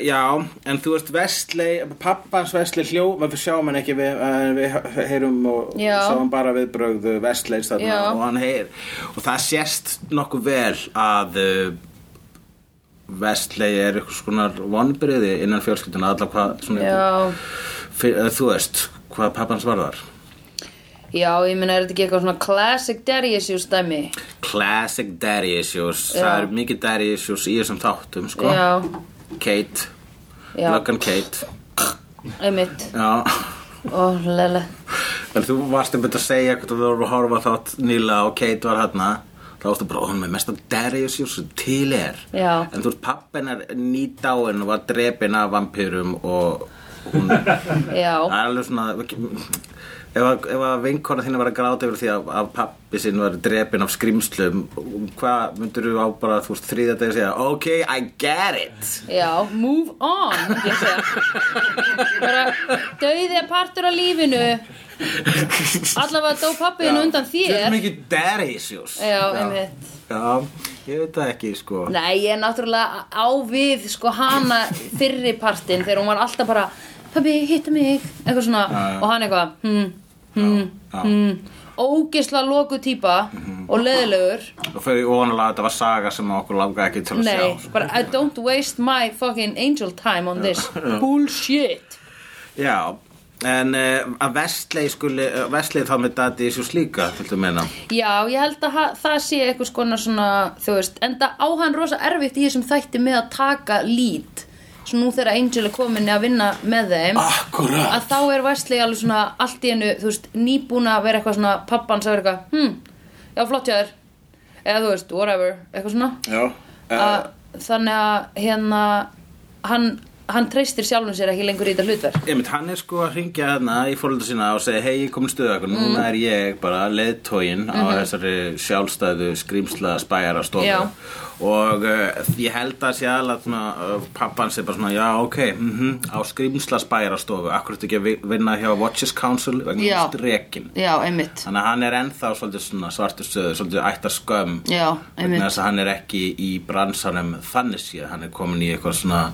Speaker 1: Já, en þú veist Vestley, pappans Vestley hljó við sjáum hann ekki, við, uh, við heyrum og
Speaker 2: Já.
Speaker 1: sjáum bara við brögðu Vestleys þarna
Speaker 2: Já.
Speaker 1: og hann heyr og það sést nokkuð vel að uh, Vestley er eitthvað svona vonbriði innan fjölskylduna allar hvað svona
Speaker 2: já,
Speaker 1: Fyr, eh, þú veist, hvað pappans varðar
Speaker 2: já, ég meina er þetta ekki eitthvað svona classic daddy issues dæmi
Speaker 1: Classic daddy issues Það er mikið daddy issues í þessum þáttum sko.
Speaker 2: Já,
Speaker 1: Kate,
Speaker 2: Já.
Speaker 1: löggan Kate
Speaker 2: einmitt,
Speaker 1: Já
Speaker 2: ó, lele
Speaker 1: (laughs) En þú varst einmitt að segja hvernig þú voru að horfa á þátt nýla og Kate var hérna þá varstu bara, hún er mest að daddy issues sem til er
Speaker 2: Já.
Speaker 1: En þú veist, pappin er nýdáin og var drepin af vampýrum og hún
Speaker 2: (laughs) Já,
Speaker 1: Það er alveg svona ef að, ef að vinkona þín var að gráta yfir því að, að pappi sinn var drepin af skrimslum hvað myndur þú á bara þú veist þriðja degi að segja ok, I get it
Speaker 2: já, move on myndi ég segja bara döiði er partur af lífinu allavega dó pappiðin undan
Speaker 1: Þetta er
Speaker 2: þér
Speaker 1: mikið daddy issues
Speaker 2: Já, einmitt
Speaker 1: Já, ég veit það ekki sko
Speaker 2: Nei, ég er náttúrulega á við sko hana fyrri partinn þegar hún var alltaf bara Pabbi, hitta mig, eitthvað svona
Speaker 1: já.
Speaker 2: og hann eitthvað, hm, hm,
Speaker 1: já.
Speaker 2: hm ógisla loku típa
Speaker 1: Mhm.
Speaker 2: og leðilegur
Speaker 1: og fyrir ofanlega þetta var saga sem okkur langaði ekki til að
Speaker 2: Nei,
Speaker 1: sjá sko.
Speaker 2: bara I don't waste my fucking angel time on this Bullshit
Speaker 1: Já, en uh, að vestlei skuli vestlei þá með daddy issues líka viltu meina
Speaker 2: Já, ég held að ha- það sé eitthvað skona svona, þú veist, enda á hann rosa erfitt í þessum þætti með að taka lít Svo nú þegar Angel er komin að vinna með þeim
Speaker 1: Ah. Akkurat
Speaker 2: að þá er Wesley alveg svona allt í hennu, þú veist, nýbúin að vera eitthvað svona pappan sem er eitthvað, hm, já flott hjá þér eða þú veist, whatever, eitthvað svona
Speaker 1: Já, uh,
Speaker 2: að, þannig að hérna hann, hann treystir sjálfum sér ekki lengur í þetta hlutverk
Speaker 1: Einmitt, hann er sko að ringja þarna í fórhaldur sína og segja hei, ég kom í stöðakun,
Speaker 2: Mm.
Speaker 1: núna er ég bara leðtógin á þessari sjálfstæðu skrimsla spæjarastofu
Speaker 2: Mhm. Já.
Speaker 1: og uh, ég held að sé aðlega svona, uh, pappan sé bara svona já, ok, mm á skrimsla spæjarastofu akkur þetta ekki að vi- vinna hjá Watches Council
Speaker 2: Já.
Speaker 1: vegna strekin
Speaker 2: Já, einmitt
Speaker 1: þannig að hann er ennþá svolítið svona svartur stöðu svolítið ættar skömm
Speaker 2: Já,
Speaker 1: vegna
Speaker 2: einmitt
Speaker 1: þess að hann er ekki í bransanum þannig séð, hann er komin í eitthvað svona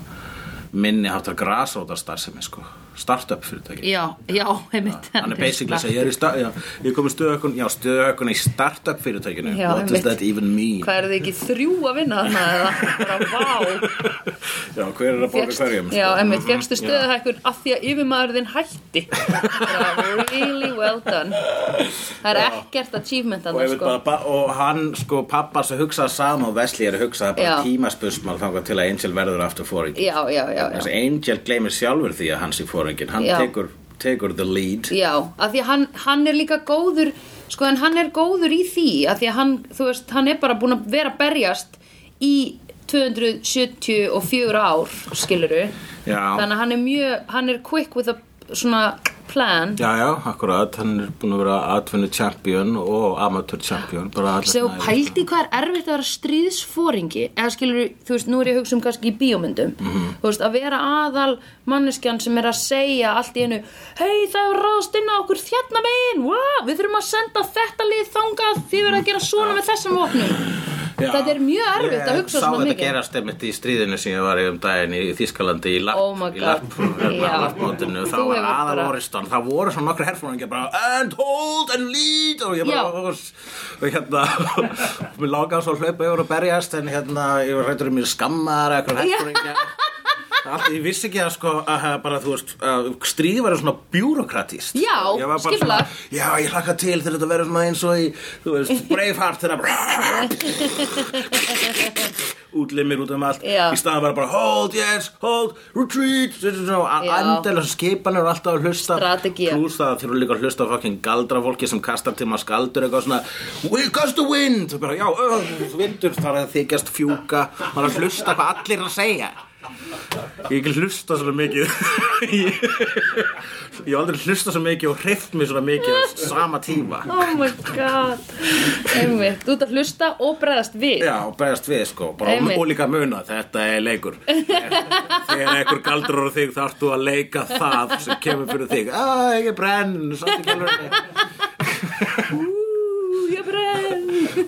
Speaker 1: minni háttar grasróta starfsemi sko, startup fyrirtæki
Speaker 2: Já, já, einmitt
Speaker 1: hann er basically að segja, ég, er í sta- já, ég kom í stöðökun já, stöðökun í startup fyrirtækinu
Speaker 2: Já,
Speaker 1: what does
Speaker 2: einmitt.
Speaker 1: that even mean
Speaker 2: Hvað er þið ekki þrjú að vinna þarna eða? (laughs) Bara, vá
Speaker 1: (laughs) já, hver er að borga
Speaker 2: Fékkst-
Speaker 1: hverjum sko.
Speaker 2: Já, einmitt, fegstu stöðahækkun af því að yfirmaður þinn hætti Bara, Really well done Það er ekkert achievement
Speaker 1: og,
Speaker 2: annars
Speaker 1: einmitt
Speaker 2: sko
Speaker 1: bara, ba- og hann sko pappa sem hugsaði saman og Vesli er að hugsa bara
Speaker 2: Já.
Speaker 1: tímaspursmál þangað til að Angel verður aftur fóringi
Speaker 2: Já, já, já, já
Speaker 1: þessi Angel gleymir sjálfur því að hans í fóringin hann
Speaker 2: Já.
Speaker 1: tekur, tekur the lead
Speaker 2: Já, af því að hann, hann er líka góður sko en hann er góður í því af því að hann, þú veist, hann er bara búin að vera að berjast í 274 ár skiluru
Speaker 1: Já.
Speaker 2: þannig að hann er mjög hann er quick with a svona plan
Speaker 1: Já, já, akkurat, hann er búin að vera atvinnu champion og amateur champion bara allar
Speaker 2: Svo
Speaker 1: svona-
Speaker 2: pældi hvað er erfitt að vera stríðsfóringi eða skilur, þú veist, nú er ég að hugsa um kannski í bíómyndum,
Speaker 1: Mhm.
Speaker 2: þú veist, að vera aðal manneskjan sem er að segja allt í hennu, hei það er ráðst inn á okkur þjarna megin, wow, við þurfum að senda þetta lið þangað, þið verða að gera svona með þessum vopnum Þetta er mjög erfitt að hugsa
Speaker 1: Ég
Speaker 2: svona
Speaker 1: sá þetta
Speaker 2: mikið.
Speaker 1: gerast einmitt í stríðinu sem ég var í um daginn í Þískalandi í
Speaker 2: Oh my
Speaker 1: LARP, í
Speaker 2: God.
Speaker 1: LARP hérna,
Speaker 2: Já.
Speaker 1: LARP-mótinu, þá
Speaker 2: Þú
Speaker 1: var
Speaker 2: hefur bara-
Speaker 1: aðal orðistan það voru svona nokkri herfóningja bara and hold and lead og ég bara
Speaker 2: Já.
Speaker 1: og, og hérna (laughs) mér lákaði svo að hlaupa yfir og berjast en hérna ég var hrættur um mér skammaðar eða eitthvað herfóningja Allt, ég vissi ekki að sko að hafa bara þú veist að stríð verður svona bjúrokratist
Speaker 2: Já,
Speaker 1: Ég var bara
Speaker 2: skipulag.
Speaker 1: svona, Já, ég hlakka til þegar þetta verður svona eins og í þú
Speaker 2: (laughs)
Speaker 1: veist, Braveheart þegar bara útlimir út um allt
Speaker 2: Já.
Speaker 1: í staðan var bara hold, yes, hold, retreat
Speaker 2: Já.
Speaker 1: andela skipanir og alltaf að hlusta
Speaker 2: Strategía.
Speaker 1: pluss það þurfum líka að hlusta á fucking galdra fólki sem kastar til maður skaldur eitthvað svona we gust the wind bara, já, uh, vindur þar að þykjast fjúka maður að hlusta hvað allir eru að segja ég hef ekki hlusta svona mikið (laughs) ég ég hef aldrei hlusta svona mikið og hreift mig svona mikið á sama tíma
Speaker 2: Oh my god Einmitt, þú ert að hlusta og bregðast við
Speaker 1: Já, og bregðast við sko, bara
Speaker 2: Einmitt.
Speaker 1: og líka muna, þetta er leikur Þegar einhver galdur á þig þarf þú að leika það sem kemur fyrir þig Æ, ég er brenn, samt ekki alveg
Speaker 2: Ú, ég bregð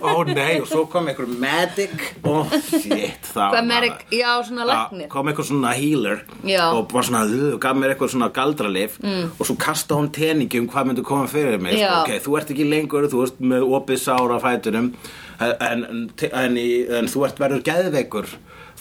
Speaker 1: Ó nei, og svo kom einhver medic Ó, shit, það
Speaker 2: Hvað merik, já, svona
Speaker 1: Já,
Speaker 2: læknir
Speaker 1: kom eitthvað svona healer
Speaker 2: Já.
Speaker 1: og bara svona, þú gaf mér eitthvað svona galdralif mm. og svo kasta hún teningi um hvað myndi koma fyrir mig
Speaker 2: Já.
Speaker 1: ok, þú ert ekki lengur, þú ert með opið sára fætunum en, en, en, í- en þú ert verður geðveikur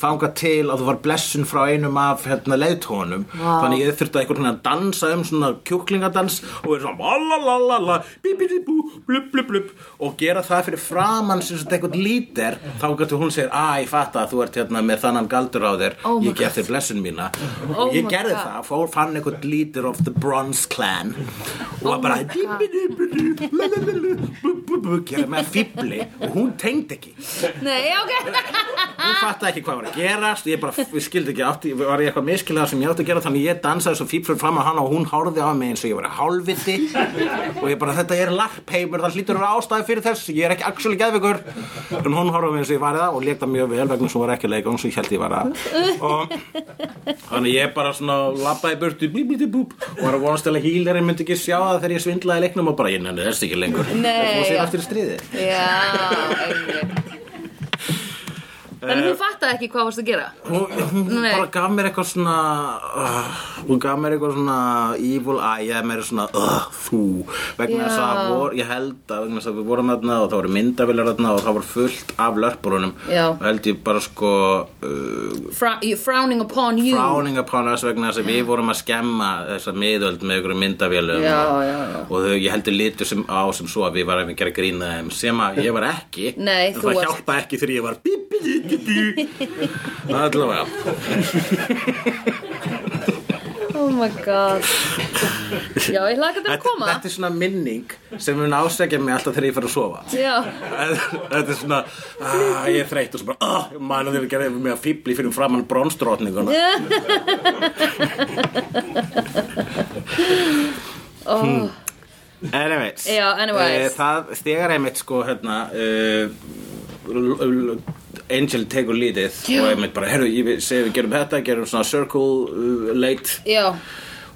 Speaker 1: þanga til að þú var blessun frá einum af hérna, leiðtónum
Speaker 2: Vá.
Speaker 1: þannig ég þurfti að eitthvað svona dansa um svona kjúklingadans og verið svona lalalala, bíbíbíbú, blub blub blub og gera það fyrir framann sem þetta eitthvað lítir þá gæti hún segir, að ég fatt að þú ert hérna með þannan galdur á þér
Speaker 2: Oh my
Speaker 1: ég gef þér blessun mína og ég
Speaker 2: my
Speaker 1: gerði
Speaker 2: God.
Speaker 1: það, fór, fann eitthvað lítir of the bronze clan og var bara bíbíbíbú, lalalala, blub blub blub gera með fíbli og hún tengd ekki
Speaker 2: Nei, já,
Speaker 1: (laughs)
Speaker 2: ok
Speaker 1: Ég fatta ekki hvað var að gerast Ég bara, ég skildi ekki átti Var ég eitthvað miskilega sem ég átti að gera Þannig ég dansaði svo fíflur fram á hana Og hún hárði á mig eins og ég var hálfviti Og ég bara, þetta er larpheimur Það hlýtur að vera ástæði fyrir þess Ég er ekki actually geðveikur En hún hárði á mig eins og ég var það Og lékta mjög vel vegna svo var ekki að leika Hún svo ég held ég var það Og Þannig ég bara svona labbaði í burtu bí, bí, bí, búp, og var að vonast til að hýlerinn myndi ekki sjá það þegar ég svindlaði leiknum og bara ég nenni þess ekki lengur
Speaker 2: Nei,
Speaker 1: og sér
Speaker 2: já.
Speaker 1: aftur í stríði
Speaker 2: Já, einmitt Þannig
Speaker 1: Eh,
Speaker 2: að þú fattaði ekki hvað varst að gera
Speaker 1: og hún
Speaker 2: Nei.
Speaker 1: bara gaf mér eitthvað svona uh, hún gaf mér eitthvað svona evil eye eða mér svona uh, þú vegna þess að
Speaker 2: Já.
Speaker 1: vor, ég held að vegna þess að við vorum þarna og það voru myndavillar þarna og það var fullt af lörpurunum
Speaker 2: Já.
Speaker 1: og held ég bara sko uh,
Speaker 2: Fra you- Frowning upon you
Speaker 1: fráning upon us vegna þess að við vorum að skemma þessa miðöld með ykkur myndavélum
Speaker 2: Já,
Speaker 1: og-
Speaker 2: já, já.
Speaker 1: og þau, ég heldur litur sem á sem svo að við varum að gera grína þeim sem að ég var ekki
Speaker 2: Nei,
Speaker 1: en
Speaker 2: þú
Speaker 1: það
Speaker 2: varst-
Speaker 1: hjálpa ekki þegar ég var bí, bí, bí, bí, bí.
Speaker 2: (laughs)
Speaker 1: allavega
Speaker 2: Oh my god Já, ég hlaka þetta að
Speaker 1: þetta,
Speaker 2: koma
Speaker 1: þetta er svona minning sem mun ásækja mig alltaf þegar ég fer að sofa
Speaker 2: Já
Speaker 1: Þetta er svona, ah, ég er þreytt og svo bara, ah, mæna þegar við gerðum mig að fýbli fyrir framann bronstrótninguna. Hmm.
Speaker 2: oh,
Speaker 1: Anyways,
Speaker 2: Já, anyways.
Speaker 1: Eh, það, þegar einmitt sko hérna uh, Angel tekur lítið og einmitt bara, herru, ég segi við gerum þetta gerum svona circle uh, late
Speaker 2: Já,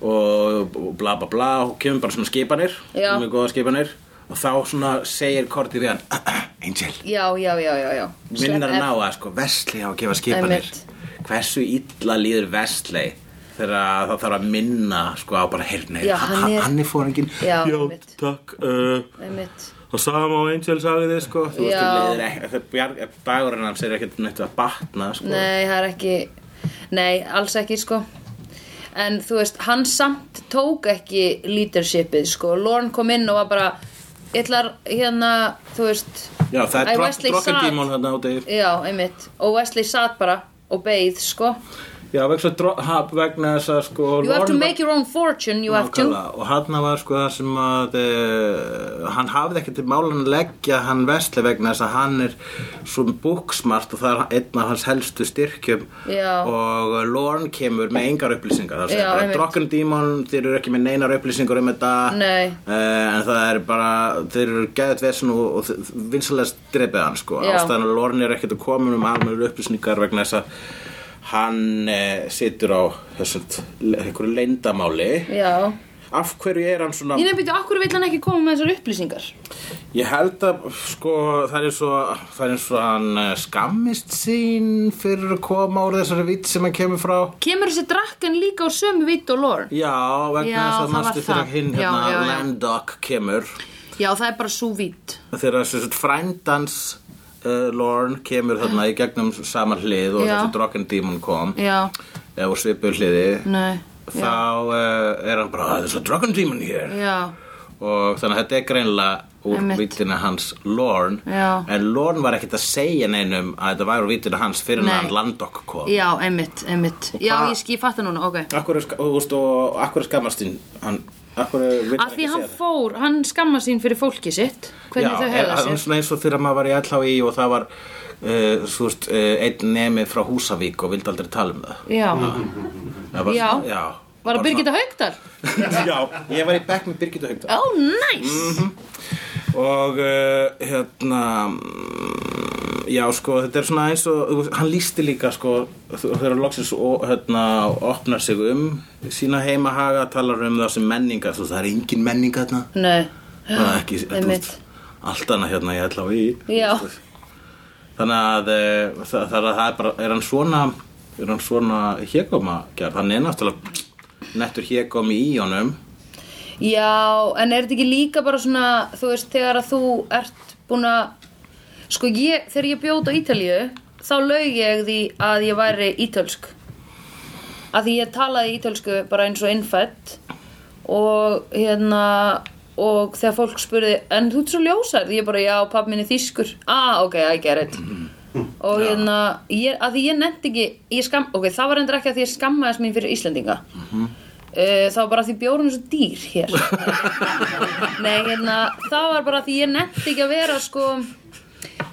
Speaker 1: og, og bla bla bla og kemur bara svona skipanir
Speaker 2: Já.
Speaker 1: mjög góða skipanir og þá svona segir Korti við hann "Ah, Angel,
Speaker 2: já, já, já, já, já
Speaker 1: minnar
Speaker 2: Slepp-
Speaker 1: hann á að sko Vestley á að gefa skipanir
Speaker 2: Einmitt.
Speaker 1: hversu illa líður Vestley þegar það þarf að minna sko á bara heyrni,
Speaker 2: Já, hann er-
Speaker 1: hann er fóringin
Speaker 2: Já, einmitt.
Speaker 1: takk uh,
Speaker 2: eh, Einmitt
Speaker 1: Og sama og Angel sagði þið sko Þú veist,
Speaker 2: Já.
Speaker 1: þú leiðir ekki það bjar- Dagurinn hans er ekkert neitt að batna sko
Speaker 2: Nei, það er ekki Nei, alls ekki, sko En þú veist, hann samt tók ekki leadershipið, sko Lorne kom inn og var bara Ítlar, hérna, þú veist
Speaker 1: Já, það
Speaker 2: Æ,
Speaker 1: er
Speaker 2: Wesley sat.
Speaker 1: drokkendímon þarna úti
Speaker 2: Já, einmitt Og Wesley satt bara og beið, sko
Speaker 1: Já, vegna þess að dro- ha, vegna þess að sko
Speaker 2: You have to
Speaker 1: Lorne var-
Speaker 2: make your own fortune, you have to
Speaker 1: Nákvæmlega. Og hann var sko það sem að uh, Hann hafði ekki til málan að leggja Hann vesli vegna þess að hann er Svo búksmart og það er einn af hans helstu styrkjum
Speaker 2: Já.
Speaker 1: Og Lorne kemur með engar upplýsingar Það
Speaker 2: Já,
Speaker 1: segir bara
Speaker 2: einmitt.
Speaker 1: drokkendímon Þeir eru ekki með neinar upplýsingar um þetta
Speaker 2: Nei.
Speaker 1: Eh, en það er bara þeir eru geðið vesen og, og vinsalegast drefið hann sko
Speaker 2: Já.
Speaker 1: ástæðan að Lorne er ekkert að koma um almennur upplýsningar vegna þess að eh, hann e, situr á þessum einhverju leyndamáli
Speaker 2: Já,
Speaker 1: af hverju er hann svona
Speaker 2: Ég nefnir býttu, okkur vill hann ekki koma með þessar upplýsingar
Speaker 1: Ég held að sko það er svo, það er svo hann eh, skammist sín fyrir að koma úr þessari vitt sem hann kemur frá
Speaker 2: Kemur þessi drakkan líka á sömu vitt og lór?
Speaker 1: Já, vegna
Speaker 2: Já,
Speaker 1: þess að
Speaker 2: það var
Speaker 1: manstu
Speaker 2: það.
Speaker 1: þegar hinn
Speaker 2: Já,
Speaker 1: hérna
Speaker 2: já, já.
Speaker 1: Landok kemur
Speaker 2: Já, það er bara svo vitt
Speaker 1: þegar þessi svo frændans uh, Lorne kemur þarna í gegnum saman hlið og
Speaker 2: Já.
Speaker 1: þessi Droggan Demon kom
Speaker 2: Já,
Speaker 1: eða úr svipu hliði
Speaker 2: nei
Speaker 1: þá uh, er hann bara þessi Droggan Demon hér
Speaker 2: Já,
Speaker 1: og þannig að þetta er greinlega úr
Speaker 2: Einmitt.
Speaker 1: vítina hans Lorne
Speaker 2: Já.
Speaker 1: en Lorne var ekkert að segja neinum að þetta var úr vítina hans fyrir
Speaker 2: Nei.
Speaker 1: Nei. hann Landok kom
Speaker 2: já, einmitt, einmitt Já,
Speaker 1: hvað-
Speaker 2: ég, skil- ég fatta núna, ok
Speaker 1: Akkur er, ska- og, þú veist, og akkur er skammastinn hann, akkur er, vill
Speaker 2: Af því
Speaker 1: ekki
Speaker 2: hann
Speaker 1: segja það
Speaker 2: fór, hann skamma sín fyrir fólki sitt Hvernig
Speaker 1: Já,
Speaker 2: þau
Speaker 1: er-
Speaker 2: hefða
Speaker 1: hann
Speaker 2: sér
Speaker 1: er svona eins og þegar maður var í LHI og það var uh, svo veist, uh, einn nemi frá Húsavík og vildi aldrei tala um það
Speaker 2: Já,
Speaker 1: Það var,
Speaker 2: Já.
Speaker 1: já
Speaker 2: var
Speaker 1: Bara
Speaker 2: að Birgitta Haugdal
Speaker 1: svona- (laughs) Já, ég var í bekk með Birgitta Haugdal
Speaker 2: Ó, næs
Speaker 1: Mhm. og uh, hérna mm, já sko þetta er svona eins og þú veist, hann lísti líka sko þegar hann loksins og, hérna, opnar sig um sína heimahaga talar um það sem menninga þú, veist, það er engin menninga þarna
Speaker 2: Nei,
Speaker 1: það er ekki þú
Speaker 2: einmitt.
Speaker 1: veist, allt annað hérna ég ætla á í
Speaker 2: Já.
Speaker 1: þannig að eh, það, það, er- það er bara er hann svona er hann svona hégóma hann er náttúrulega nettur hégómi í honum
Speaker 2: Já, en er þetta ekki líka bara svona, þú veist, þegar að þú ert búin að, sko ég, þegar ég bjóð á Ítalíu, þá laug ég því að ég væri ítölsk. Að því ég talaði ítölsku bara eins og innfætt og hérna, og þegar fólk spurði, en þú ert svo ljósar? Ég bara, já, pappi minn er þýskur. Ah, ok, I get it. Og hérna, ég, að því ég nefndi ekki, ég skam, ok, það var endur ekki að því ég skammaðist mín fyrir Íslendinga.
Speaker 1: Mhm.
Speaker 2: Uh, það var bara af því bjórun er svo dýr
Speaker 1: (laughs)
Speaker 2: hér Nei, hérna, það var bara af því ég nefndi ekki að vera sko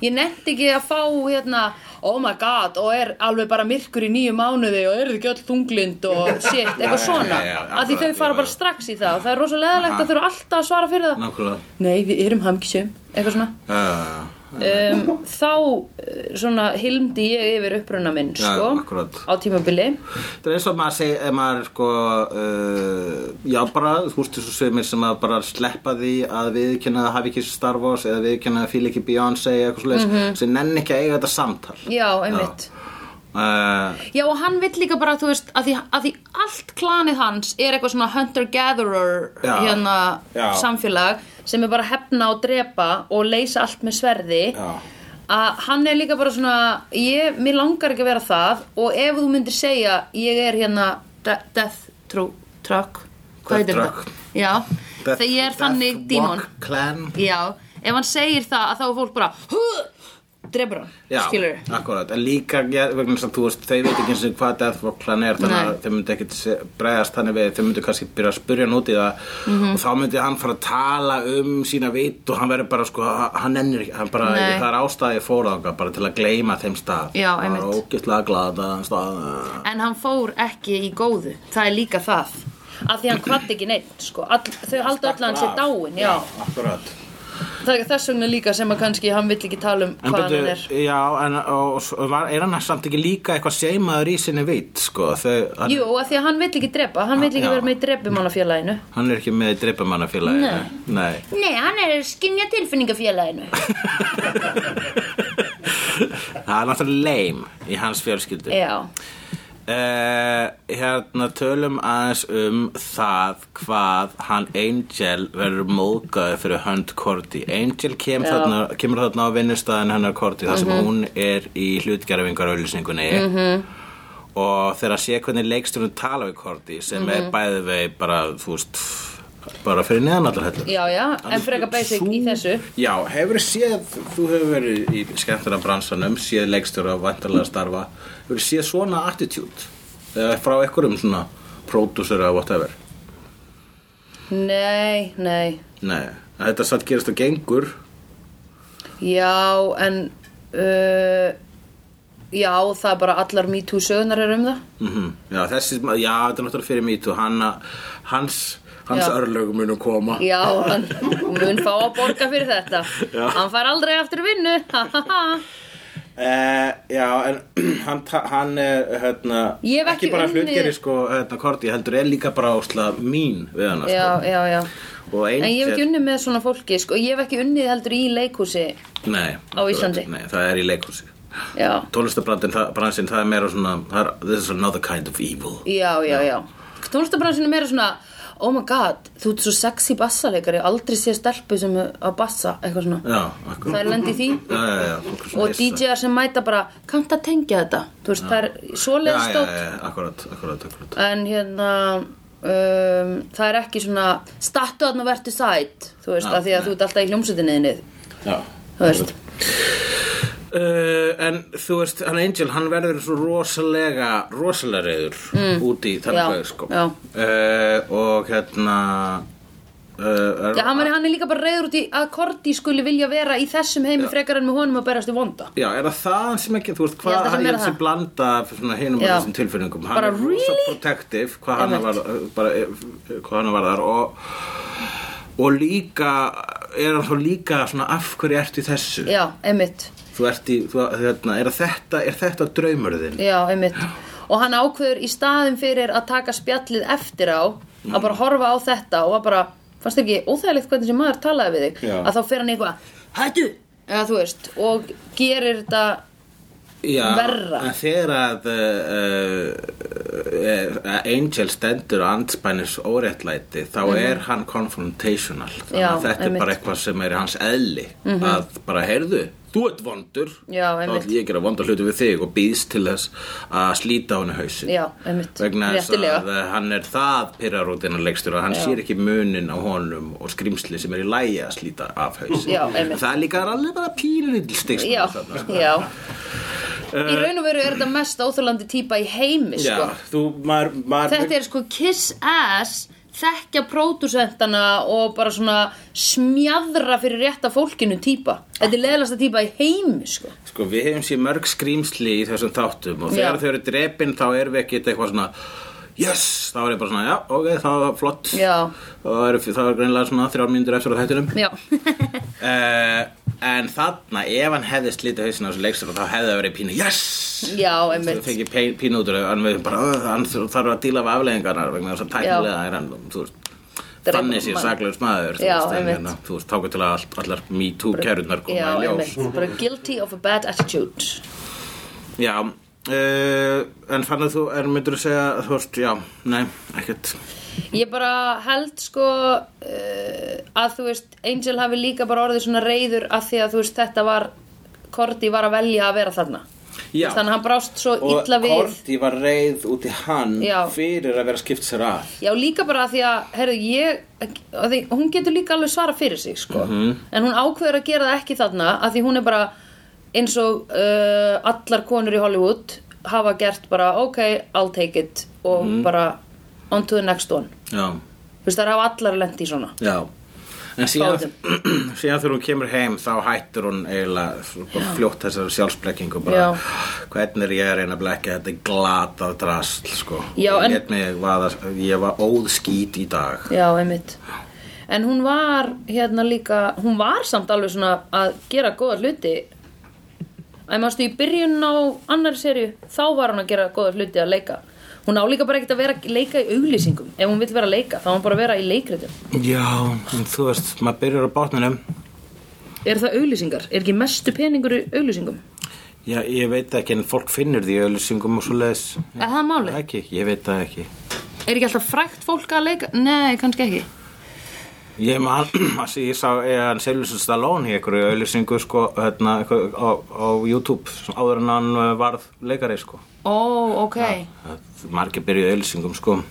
Speaker 2: Ég nefndi ekki að fá hérna Oh my god, og er alveg bara myrkur í nýju mánuði og eru þið ekki öll þunglind og
Speaker 1: (laughs)
Speaker 2: shit, eitthvað svona
Speaker 1: já, já,
Speaker 2: Af því
Speaker 1: akkurat,
Speaker 2: þau fara
Speaker 1: já,
Speaker 2: bara
Speaker 1: já.
Speaker 2: strax í það og það er rosa leðalegt að þau eru alltaf að svara fyrir það
Speaker 1: nákvæmlega
Speaker 2: Nei, við erum hamkisum, eitthvað svona
Speaker 1: uh,
Speaker 2: um, Þá eh, svona hilmdi ég yfir uppruna minn,
Speaker 1: Já,
Speaker 2: sko
Speaker 1: akkurat.
Speaker 2: Á tímabili
Speaker 1: Það er eins og maður segir, ef maður sko, uh, já bara, þú veist þessu sögumir sem að bara sleppa því að viðkynna að hafi ekki Star Wars eða viðkynna að fíla ekki Beyoncé eða eitthvað svoleiðis, sem nenn ekki að eiga þetta samtal.
Speaker 2: Já, Mhm. einmitt
Speaker 1: Uh,
Speaker 2: Já og hann vill líka bara, þú veist, að því, að því allt klanið hans er eitthvað svona hunter-gatherer
Speaker 1: Já.
Speaker 2: hérna
Speaker 1: Já.
Speaker 2: samfélag sem er bara að hefna og drepa og leysa allt með sverði
Speaker 1: Já.
Speaker 2: að hann er líka bara svona ég, mér langar ekki að vera það og ef þú myndir segja ég er hérna de death tru truck
Speaker 1: Death
Speaker 2: hvað heitir
Speaker 1: Truck.
Speaker 2: þetta? Já, þegar ég er þannig dímon
Speaker 1: Death Walk Clan.
Speaker 2: Já, ef hann segir það að þá er fólk bara "Huh!" drepur hann,
Speaker 1: Já,
Speaker 2: skilur
Speaker 1: akkurat, en líka ja, vegna þess að þú veist, þau veit ekki eins og hvað Death Walk Clan er, þannig að
Speaker 2: Nei.
Speaker 1: þau myndi ekkit se- bregðast þannig við, þau myndi kannski byrja að spyrja hann út í það
Speaker 2: Mhm.
Speaker 1: og þá myndi hann fara að tala um sína vitt og hann verður bara sko, hann ennir ekki, hann bara,
Speaker 2: Nei.
Speaker 1: það er ástæði fóraðanga bara til að gleyma þeim stað
Speaker 2: Já,
Speaker 1: Bara
Speaker 2: einmitt.
Speaker 1: ógeðslega gladaðan stað
Speaker 2: En hann fór ekki í góðu, það er líka það Af því hann kvart ekki neitt, sko All, Þau halda öll að hann sé
Speaker 1: Stakk bara af.
Speaker 2: dáin, já
Speaker 1: akkurat
Speaker 2: Það er þess vegna líka sem að kannski hann vill ekki tala um
Speaker 1: En
Speaker 2: hvað hann er
Speaker 1: betur, já, en og, og, var, er hann samt ekki líka eitthvað seimaður í sinni vitt, sko, þau, hann,
Speaker 2: Jú, af því að hann vill ekki drepa, hann vill ekki
Speaker 1: Já.
Speaker 2: vera með í drepumannafélaginu
Speaker 1: hann er ekki með í dreipamannafélagi,
Speaker 2: Nei.
Speaker 1: nei.
Speaker 2: Nei, hann er skinja tilfinningafélaginu
Speaker 1: það er náttúrulega leim í hans fjölskyldu
Speaker 2: Já,
Speaker 1: Eh, hérna tölum aðeins um það hvað hann Angel verður móðgæði fyrir hönd Korti Angel kem þarna, kemur þarna á vinnustæðin hennar Korti þar sem hún er í hlutgerfingarauðlýsingunni -hmm. og þegar að sé hvernig leikstjórnum tala við Korti sem er bæði vei bara þú veist bara fyrir neðanallar hellu
Speaker 2: já, já, en freka basic í þessu
Speaker 1: Já, hefur séð, þú hefur verið í skemmtuna bransanum, séð leikstjóra vantarlega starfa, hefur séð svona attitude eh, frá einhverjum svona pródúsur eða whatever
Speaker 2: Nei, nei,
Speaker 1: Nei, þetta satt gerist og gengur
Speaker 2: já, en uh, Já, það er bara allar me too sögunar er um það
Speaker 1: mm Já, þessi, ma- já, þetta er náttúrulega fyrir mýtu hanna, hans, hans
Speaker 2: Já.
Speaker 1: örlög munu koma
Speaker 2: Já, hann mun fá að borga fyrir þetta
Speaker 1: Já.
Speaker 2: Hann fær aldrei aftur vinnu ha, ha, ha.
Speaker 1: Uh, já, en (clears throat) hann, ta- hann er hérna,
Speaker 2: Ég hef ekki
Speaker 1: bara
Speaker 2: unnið-
Speaker 1: hlutgeri sko, hérna, Korti, heldur er líka bara ásla mín við hana
Speaker 2: já,
Speaker 1: sko.
Speaker 2: já, já
Speaker 1: og
Speaker 2: en ég hef ekki
Speaker 1: einhver,
Speaker 2: unnið með svona fólki sko. ég hef ekki unnið heldur í leikhúsi
Speaker 1: nei,
Speaker 2: á Íslandi.
Speaker 1: nei, það er í leikhúsi
Speaker 2: já,
Speaker 1: tónlistabransinn, það er meira svona það er, this is another kind of evil
Speaker 2: já, já, já tónlistabransin er meira svona oh my god, þú ert svo sexy bassaleikari aldrei sé stelpu sem er að bassa eitthvað svona,
Speaker 1: já, akkur
Speaker 2: það er lendi því
Speaker 1: já, já, já, fólk er svona
Speaker 2: og
Speaker 1: hissa.
Speaker 2: DJ-ar sem mæta bara kannst að tengja þetta, þú veist, það er
Speaker 1: já,
Speaker 2: svoleiðist
Speaker 1: já,
Speaker 2: stótt
Speaker 1: já, akkurat, akkurat, akkurat
Speaker 2: en hérna um, það er ekki svona statu að nú vertu sætt, þú veist,
Speaker 1: Já,
Speaker 2: af því að
Speaker 1: nei.
Speaker 2: þú ert alltaf í hljómsutinniðinni,
Speaker 1: já
Speaker 2: þú veist
Speaker 1: Uh, en þú veist, hann Angel, hann verður svo rosalega, rosalega reyður út í
Speaker 2: Mm. Já,
Speaker 1: þannig sko.
Speaker 2: já.
Speaker 1: uh, og hérna uh, er,
Speaker 2: Já, hann er, hann er líka bara reyður út í að Korti skuli vilja vera í þessum heimi frekar en með honum að berast í vonda
Speaker 1: Já, er það það hann sem ekki, þú veist,
Speaker 2: Ég held
Speaker 1: hvað
Speaker 2: að það
Speaker 1: hann
Speaker 2: sé
Speaker 1: er
Speaker 2: meira
Speaker 1: sem
Speaker 2: það.
Speaker 1: blanda af svona hinum og
Speaker 2: Já.
Speaker 1: þessum tilfinningum hann
Speaker 2: Bara
Speaker 1: er
Speaker 2: really?
Speaker 1: protective, hvað hann var bara, eh, hvað hann var þar og, og líka er hann þá líka svona af hverju ertu í þessu
Speaker 2: Já, einmitt
Speaker 1: þú ert í, þú, hérna, er þetta er þetta draumurðin
Speaker 2: Já, einmitt Og hann ákveður í staðin fyrir að taka spjallið eftir á að
Speaker 1: Mm.
Speaker 2: bara horfa á þetta og að bara, fannst þér ekki óþægilegt hvernig sem maður talaði við þig
Speaker 1: Já.
Speaker 2: að þá fer hann í eitthvað, hættu eða þú veist, og gerir þetta
Speaker 1: Já,
Speaker 2: Verra.
Speaker 1: en þegar að uh, uh, uh, Angel stendur andspænis óréttlæti þá er hann confrontational þannig
Speaker 2: Mhm. Já,
Speaker 1: að þetta er
Speaker 2: einmitt. Mhm.
Speaker 1: bara eitthvað sem er í hans eðli að bara heyrðu, þú ert vondur
Speaker 2: Já,
Speaker 1: þá
Speaker 2: einmitt.
Speaker 1: ætlum ég að gera vonda hluti við þig og býðst til þess að slíta á henni hausin
Speaker 2: Já, einmitt.
Speaker 1: vegna þess
Speaker 2: Réttilega.
Speaker 1: að eh, hann er það pyrrarútina leikstur að hann sér ekki munin á honum og skrimsli sem er í lægi að slíta af hausin
Speaker 2: Já, einmitt.
Speaker 1: það er líka alveg bara sko, pínlítil stigst
Speaker 2: Já, já Í raun og veru er þetta mest óþjólandi típa í heimi,
Speaker 1: Eh, Já,
Speaker 2: sko
Speaker 1: þú, maður, maður
Speaker 2: Þetta er sko kiss ass þekkja pródusentana og bara svona smjadra fyrir rétta fólkinu típa Þetta er leðalasta típa í heimi, sko
Speaker 1: Sko, við hefum séð mörg skrýmsli í þessum þáttum og þegar
Speaker 2: Já.
Speaker 1: þau eru drepin þá erum við ekkert eitthvað svona Yes! Þá er ég bara svona, já, ok, það var flott
Speaker 2: Já.
Speaker 1: Það er, það er greinlega svona þrjár mínútur eftir á þættinum
Speaker 2: Já
Speaker 1: uh, En þarna, ef hann hefði slítið hausinn á þessu leikstur þá hefði það verið pínu Yes!
Speaker 2: Já,
Speaker 1: Það
Speaker 2: einmitt
Speaker 1: fengi pín- pínu út úr þau, en við bara, "Ugh, hann þur- þarf að díla af afleggingarnar vegna þess að tæknilega er hann, þú veist
Speaker 2: Drepa
Speaker 1: Þannig sé
Speaker 2: mann.
Speaker 1: saklaus maður, þú
Speaker 2: Já,
Speaker 1: veist, en
Speaker 2: einmitt.
Speaker 1: hérna, þú veist, tákur til að allt- allar MeToo kærunar koma
Speaker 2: Já,
Speaker 1: í ljós.
Speaker 2: einmitt Bara guilty of a bad attitude
Speaker 1: Já, uh, en fann að þú er myndur að segja, þú veist, já, nei, ekkert.
Speaker 2: Ég bara held sko uh, að þú veist Angel hafi líka bara orðið svona reyður af því að þú veist þetta var Korti var að velja að vera þarna
Speaker 1: Já.
Speaker 2: Þannig að hann brást svo illa við
Speaker 1: Korti var reið út í hann
Speaker 2: Já.
Speaker 1: fyrir að vera skipt sér að.
Speaker 2: Já, líka bara af því að, herrðu, ég, að því, hún getur líka alveg svara fyrir sig, sko. En hún ákveður að gera það ekki þarna, af því hún er bara eins og uh, allar konur í Hollywood hafa gert bara, ok, I'll take it og bara on to the next one.
Speaker 1: Já,
Speaker 2: Þú veist, það hafa allar lent í svona.
Speaker 1: já. En síðan, (clears throat) síðan þegar hún kemur heim þá hættur hún eiginlega svo bara fljótt þessar sjálfsblekkingu bara "Ah,
Speaker 2: Já.
Speaker 1: hvernig er ég að reyna að blekja þetta glatað drasl sko
Speaker 2: Já,
Speaker 1: ég,
Speaker 2: en-
Speaker 1: lét mig vaða, ég var óðskít í dag
Speaker 2: Já, einmitt. En hún var hérna líka, hún var samt alveg svona að gera góða hluti. Æ, mástu, í byrjun á annari serju, þá var hún að gera góða hluti að leika. Hún á líka bara ekkert að vera að leika í auglýsingum. Ef hún vill vera að leika, þá á hún bara að vera í leikritum.
Speaker 1: Já, en þú veist, maður byrjar á bátninum
Speaker 2: Er það auglýsingar? Er ekki mestu peningur í auglýsingum?
Speaker 1: Já, ég veit ekki, en fólk finnur því auðlýsingum og svo leiðis.
Speaker 2: Er það málið?
Speaker 1: Ekki, ég veit það ekki.
Speaker 2: Er ekki alltaf frækt fólk að leika? Nei, kannski ekki.
Speaker 1: Ég man, (clears throat) að ég sá eðan Silvestur Stallone í einhverju auðlýsingu sko, hérna, eitthvað á, á YouTube, svona áður en hann uh, varð leikari, sko.
Speaker 2: Ó, ok.
Speaker 1: Það- Margir byrjuðu auðlýsingum, sko.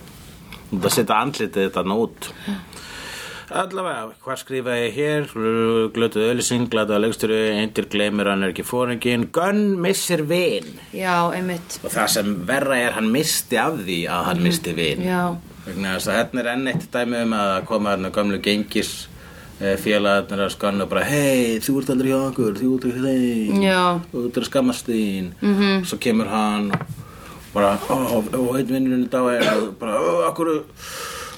Speaker 1: Það setja andlitið þetta nót. Allavega, hvað skrifa ég hér? Glötuð auðlýsing, glataða leiksturu, eindir gleymir hann er ekki fóringin. Gunn missir vin.
Speaker 2: Já, einmitt.
Speaker 1: Og það sem verra er, hann misti af því að hann misti vin.
Speaker 2: Já.
Speaker 1: vegna þess að hérna er enn eitt dæmi um að koma hérna gamlu gengis eh, félagarnir að skanna og bara hei, þú ert aldrei hjá okkur, þú ert hjá þeim
Speaker 2: Já. Mhm.
Speaker 1: þú ert að skammast þín -hmm. svo kemur hann og bara, ó, og einn vinnurinn í dag er og bara, ó, okkur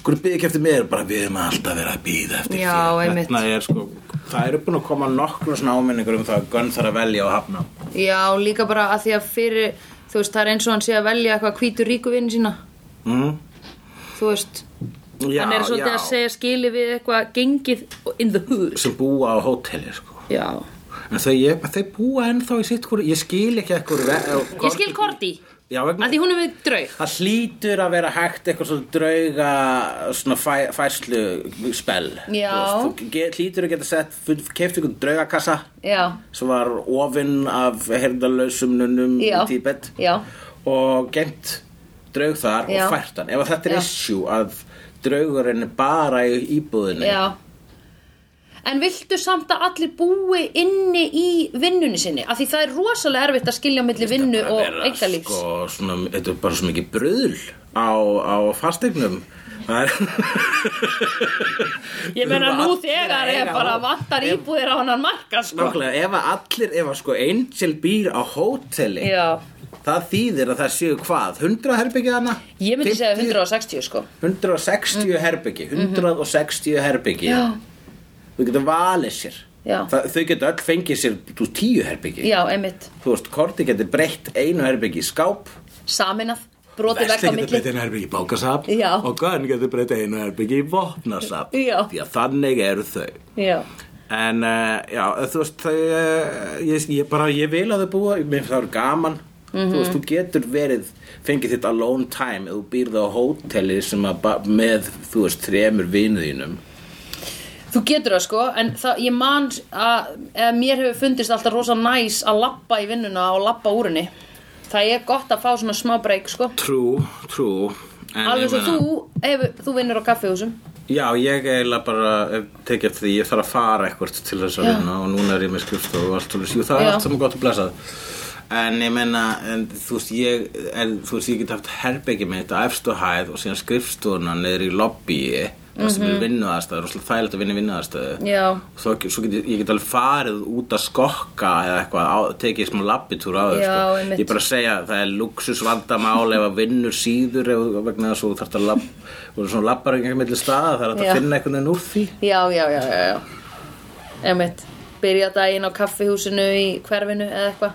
Speaker 1: okkur bygg ekki eftir mér, bara við erum alltaf verið að býða eftir
Speaker 2: Já,
Speaker 1: þér
Speaker 2: einmitt.
Speaker 1: hérna er sko Það eru búin að koma nokkru svona áminningur um það að Gunn þarf að velja og hafna.
Speaker 2: Já, líka bara að því að fyrir þú veist, það er eins og hann sé að velja eitthvað hvítur ríku vinn sína,
Speaker 1: Mm?
Speaker 2: þú veist
Speaker 1: Já,
Speaker 2: hann er svolítið
Speaker 1: já.
Speaker 2: að segja skili við eitthvað gengið in the hood
Speaker 1: Sem búa á hóteli, sko.
Speaker 2: Já,
Speaker 1: En þau, ég, þau búa ennþá í sitt hvori, ég skil ekki ekkur.
Speaker 2: ég skil Korti
Speaker 1: Já,
Speaker 2: að
Speaker 1: vegna,
Speaker 2: því hún er með draug
Speaker 1: það hlýtur að vera hægt eitthvað svona drauga svona fæ, færslu spell.
Speaker 2: Já.
Speaker 1: Þú veist, þú get, hlýtur að geta sett, keftu ykkur draugakassa
Speaker 2: Já,
Speaker 1: sem var ofinn af herndalausum nunnum í
Speaker 2: Já.
Speaker 1: Tíbet
Speaker 2: Já.
Speaker 1: og gemt draug þar
Speaker 2: Já.
Speaker 1: og fært hann ef að þetta er
Speaker 2: Já.
Speaker 1: issue að draugurinn er bara í íbúðinni
Speaker 2: já En viltu samt að allir búi inni í vinnunni sinni? Af því það er rosalega erfitt að skilja á milli vinnu
Speaker 1: Bara
Speaker 2: og
Speaker 1: vera,
Speaker 2: eigalífs.
Speaker 1: sko, svona, þetta er bara svo mikið bröðl á, á fasteignum það (laughs) er
Speaker 4: Ég meina nú
Speaker 1: Allir
Speaker 4: þegar
Speaker 1: eiga
Speaker 4: er bara
Speaker 1: á-
Speaker 4: vantar íbúðir á hann marka sko.
Speaker 1: Nákvæmlega, ef að allir, ef að sko Angel býr á hóteli
Speaker 2: Já.
Speaker 1: það þýðir að það séu hvað 100 herbyggið hana
Speaker 2: Ég myndi segja
Speaker 1: 50
Speaker 2: 160 sko
Speaker 1: 160 herbyggi 160 herbyggi
Speaker 2: Já.
Speaker 1: þau geta valið sér
Speaker 2: Já.
Speaker 1: Það, þau geta öll fengið sér þú veist, 10 herbyggi
Speaker 2: Já, einmitt
Speaker 1: þú veist, Korti getur breytt einu herbyggi í skáp
Speaker 2: Saminað, brotið vekk á milli
Speaker 1: einu herbyggi í bókasap
Speaker 2: Já.
Speaker 1: Gunn getur breytt einu herbyggi í vopnasap
Speaker 2: Já.
Speaker 1: því að þannig eru þau
Speaker 2: Já,
Speaker 1: En uh, já, þú veist, þau, uh, ég, ég bara, ég vil að þau búa, mér finnst það eru gaman.
Speaker 2: Mhm.
Speaker 1: Þú veist, þú getur verið, fengið þitt alone time ef þú býrð á hóteli sem að ba- með, þú veist, þremur vinuðinum.
Speaker 2: þú getur það sko En það, ég man að eða mér hefur fundist alltaf rosa næs að labba í vinnuna og labba úr henni Það er gott að fá svona smá breyk sko
Speaker 1: Trú, trú. En ég
Speaker 2: Alveg svo
Speaker 1: meina-
Speaker 2: þú, ef, þú vinnur á kaffihúsum
Speaker 1: Já, ég eiginlega bara eh, tekið eftir því, ég þarf að fara eitthvað til þess að
Speaker 2: Já.
Speaker 1: vinna og núna er ég með skrifstofu og allt og jú, það er
Speaker 2: Já.
Speaker 1: allt saman gott að blessað. En ég menna, en, þú veist, ég, en, þú veist, ég get haft herbyggi með þetta á efstu hæð og síðan skrifstofuna niður í lobbyi, það sem
Speaker 2: Mhm.
Speaker 1: er vinnuðaðstæður, og þægilegt að vinna í vinnuðaðstæðu.
Speaker 2: Já,
Speaker 1: Og svo, svo get ég, ég get alveg farið út að skokka eða eitthvað, á, tekið smá labbitúr á þau,
Speaker 2: Já,
Speaker 1: sko.
Speaker 2: einmitt.
Speaker 1: Ég bara segja, það er luxusvandamál ef að vinnur síður ef, vegna þess að þú þarft að labb, og svona labbar ekki mellir staða, það er hægt
Speaker 2: Já.
Speaker 1: að finna einhvern veginn úr því.
Speaker 2: já, já, já, já, já. Einmitt Byrja daginn á kaffihúsinu í hverfinu eða eitthvað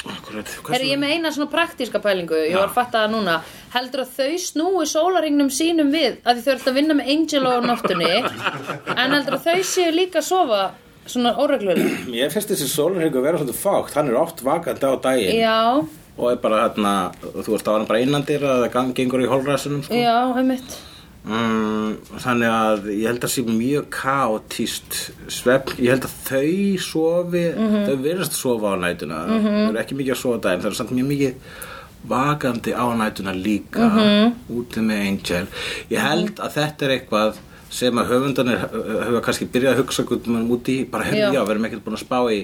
Speaker 1: Akkurat, hvað
Speaker 2: Herri,
Speaker 1: sem-
Speaker 2: ég með eina svona praktíska pælingu, ég var að fatta það núna Heldur að þau snúi sólaringnum sínum við að því þau eru alltaf að vinna með Angel á
Speaker 1: (laughs)
Speaker 2: nóttunni En heldur að þau séu líka að sofa svona óreglulega
Speaker 1: Ég finnst þessi sólurhyggur vera svolítið fákt, hann er oft vakandi á daginn
Speaker 2: Já,
Speaker 1: og er bara hérna, þú veist, það var hann bara innandir að það gang- gengur í holræsunum sko.
Speaker 2: já, einmitt
Speaker 1: mm, Þannig að ég held að sé mjög kaotíst svefn, ég held að þau sofi, þau virðast sofa á nætuna, þau eru ekki mikið að sofa á daginn, þau eru samt mjög mikið vakandi á nætuna líka úti með Angel ég held að þetta er eitthvað sem að höfundanir uh, hafa kannski byrjað að hugsa guttmann út í, bara hefði
Speaker 2: Já.
Speaker 1: já, við erum ekkert búin að spá í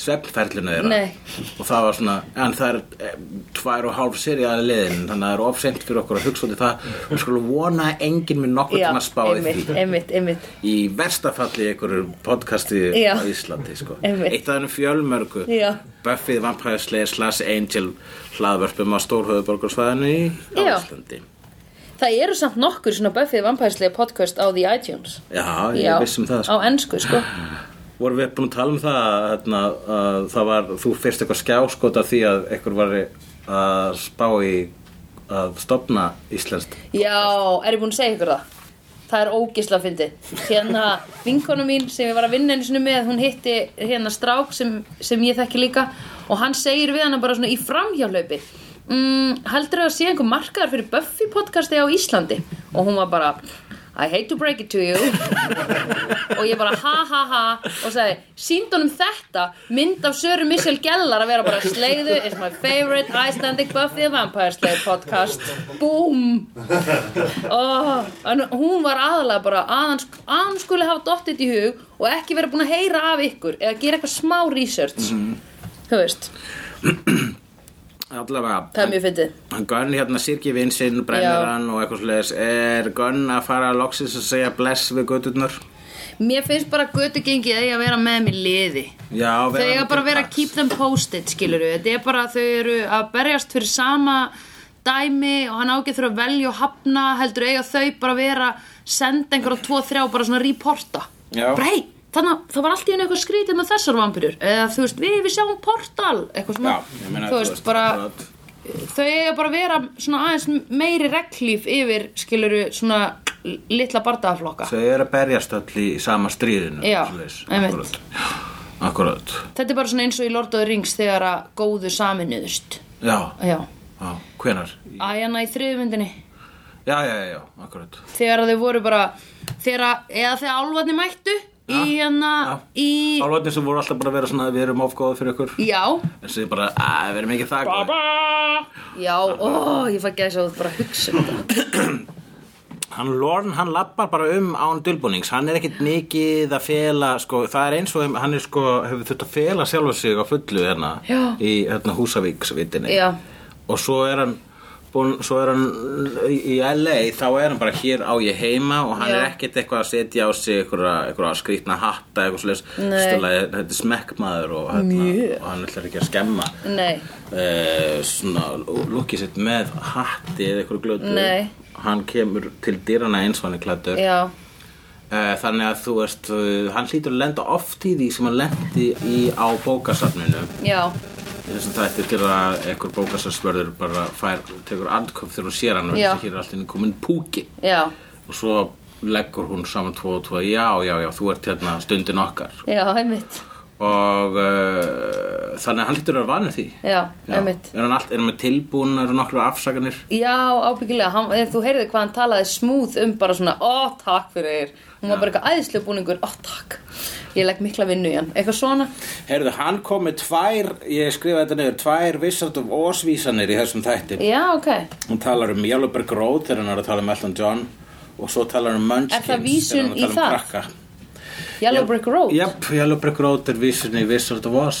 Speaker 1: svefnferlinu þeirra
Speaker 2: Nei.
Speaker 1: og það var svona, en það er eh, tvær og hálf serið að leiðin þannig að það er ofseint fyrir okkur að hugsa út í það við skulum vona að enginn minn nokkuð
Speaker 2: Já,
Speaker 1: tíma spáði
Speaker 2: einmitt,
Speaker 1: því
Speaker 2: einmitt, einmitt
Speaker 1: í versta falli í einhverju podcasti
Speaker 2: Já.
Speaker 1: á Íslandi sko.
Speaker 2: Einmitt.
Speaker 1: eitt af þennum fjölmörgu
Speaker 2: Já.
Speaker 1: Buffy the Vampire Slayer slash Angel hlaðvörpum á stórhöðuborgarsvæðinu í
Speaker 2: Já.
Speaker 1: Íslandi
Speaker 2: Það eru samt nokkur svona Buffy vampærslega podcast á The iTunes
Speaker 1: Já, ég vissum það sko.
Speaker 2: á ennsku sko
Speaker 1: vorum við búin að tala um það að, hérna, að það var, þú fyrst eitthvað skjáskot af því að eitthvað var að spá í að stopna Íslandst
Speaker 2: Já, er ég búin að segja ykkur það? Það er ógisla fyndið. Hérna, vinkona mín sem ég var að vinna einu sinni með, hún hitti hérna strák sem, sem ég þekki líka og hann segir við hana bara svona í framhjálaupi mm, heldur að sé einhver markaðar fyrir Buffy podcasti á Íslandi og hún var bara I hate to break it to you (laughs) og ég bara ha ha ha og sagði, sínd honum þetta mynd af Söru Michelle Gellar að vera bara slegðu is my favorite Icelandic Buffy the Vampire Slayer podcast boom oh, en hún var aðalega bara aðan, aðan skuli hafa dottit í hug og ekki vera búin að heyra af ykkur eða gera eitthvað smá research þú veist,
Speaker 1: allavega
Speaker 2: það er mjög fyndið
Speaker 1: Gunn hérna sirki vinsinn, brennir
Speaker 2: Já.
Speaker 1: hann og eitthvað sliðis er Gunn að fara að loksins að segja bless við götturnar
Speaker 2: mér finnst bara götu gengið að ég að vera með mér liði
Speaker 1: Já,
Speaker 2: þau
Speaker 1: vera
Speaker 2: eiga
Speaker 1: með
Speaker 2: bara að vera
Speaker 1: til
Speaker 2: keep them posted skilur við, þetta er bara að þau eru að berjast fyrir sama dæmi og hann ágæð þurfa að velja og hafna heldur eiga þau bara að vera senda einhverja tvo, þrjá, bara svona reporta
Speaker 1: Já.
Speaker 2: bara hei,
Speaker 3: þannig að það var allt í henni eitthvað skrítið með þessar vampirur eða þú veist, við, við sjáum portal eitthvað svona,
Speaker 1: ég meina,
Speaker 3: þú veist, bara
Speaker 1: svona-
Speaker 3: þau eiga bara að vera svona aðeins meiri reglíf yfir skiluru svona litla bardaðaflokka
Speaker 1: Þau eru að berjast öll í sama stríðinu
Speaker 3: Já,
Speaker 1: svoleiðis.
Speaker 3: einmitt.
Speaker 1: Akkúrat. Akkúrat
Speaker 3: þetta er bara svona eins og í Lord of the Rings þegar að góðu saminuðust
Speaker 1: Já,
Speaker 3: já,
Speaker 1: já, hvenar?
Speaker 2: hérna
Speaker 3: æjana í þriðmyndinni
Speaker 1: Já, já, já, já, akkúrat
Speaker 3: þegar að þau voru bara þegar að, eða þegar álfarnir mættu í hérna,
Speaker 1: já.
Speaker 3: í
Speaker 1: Álvarnir sem voru alltaf bara að vera svona Við erum ofgóða fyrir ykkur
Speaker 3: já,
Speaker 1: En þið bara, að við erum ekki það góð
Speaker 3: Já, ó, ég fæ gæsa út bara að hugsa um þetta.
Speaker 1: Hann Lorne, hann lappar bara um án dulbúnings, hann er ekkit mikið að fela, sko, það er eins og hann er sko, hefur þurft að fela sjálfur sig á fullu hérna
Speaker 3: Já.
Speaker 1: í hérna, Húsavíksvitinni
Speaker 3: Já.
Speaker 1: og svo er hann búin, svo er hann í í LA, þá er hann bara hér á ég heima og hann
Speaker 3: Já.
Speaker 1: er ekkit eitthvað að setja á sig einhverja, einhverja skrýtna hatta eitthvað slags, stölaði, þetta er smekkmaður og, hérna, og hann ætlar ekki að skemma
Speaker 2: Nei,
Speaker 1: eh, svona lukkið sitt með hatti eða eitthvað glötu
Speaker 2: Nei.
Speaker 1: hann kemur til dýrana eins og hann er klættur
Speaker 2: já,
Speaker 1: eh, þannig að þú veist eh, hann hlýtur að lenda oft í því sem hann lendi í á bókasafninu
Speaker 2: já,
Speaker 1: í þessum þætti til að einhver bókasafnsvörður bara fær, tekur andköf þegar hún sér hann og
Speaker 2: Já.
Speaker 1: hér er alltaf komin púki
Speaker 2: já,
Speaker 1: og svo leggur hún saman tvo og tvo já, já, já, þú ert hérna stundin okkar
Speaker 2: já, einmitt,
Speaker 1: og uh, þannig að hann hlýtur að vera vanur því
Speaker 2: já,
Speaker 1: Já.
Speaker 2: einmitt.
Speaker 1: er hann, all, er hann með tilbúin, er hann nokkru afsakanir
Speaker 2: Já, ábyggilega, hann, eh, þú heyrði hvað hann talaði smúð um bara svona, ó, takk fyrir þér. Hún var bara eitthvað æðislega búningur, ó, takk. Ég legg mikla vinnu í hann, eitthvað svona.
Speaker 1: Herðu, hann kom með tvær, ég skrifaði þetta nefnir, tvær Wizard of Oz vísanir í þessum þætti.
Speaker 2: Já, ok.
Speaker 1: Hún talar um Yellowberg Road þegar hann er að tala um Elton John og svo talar hann um Munchkins
Speaker 2: Er það vísun
Speaker 1: þegar hann er að
Speaker 2: í
Speaker 1: tala
Speaker 2: það?
Speaker 1: um krakka.
Speaker 2: Yellow Brick Road.
Speaker 1: Jöp, Yellowberg Road er vísun í Wizard of Oz.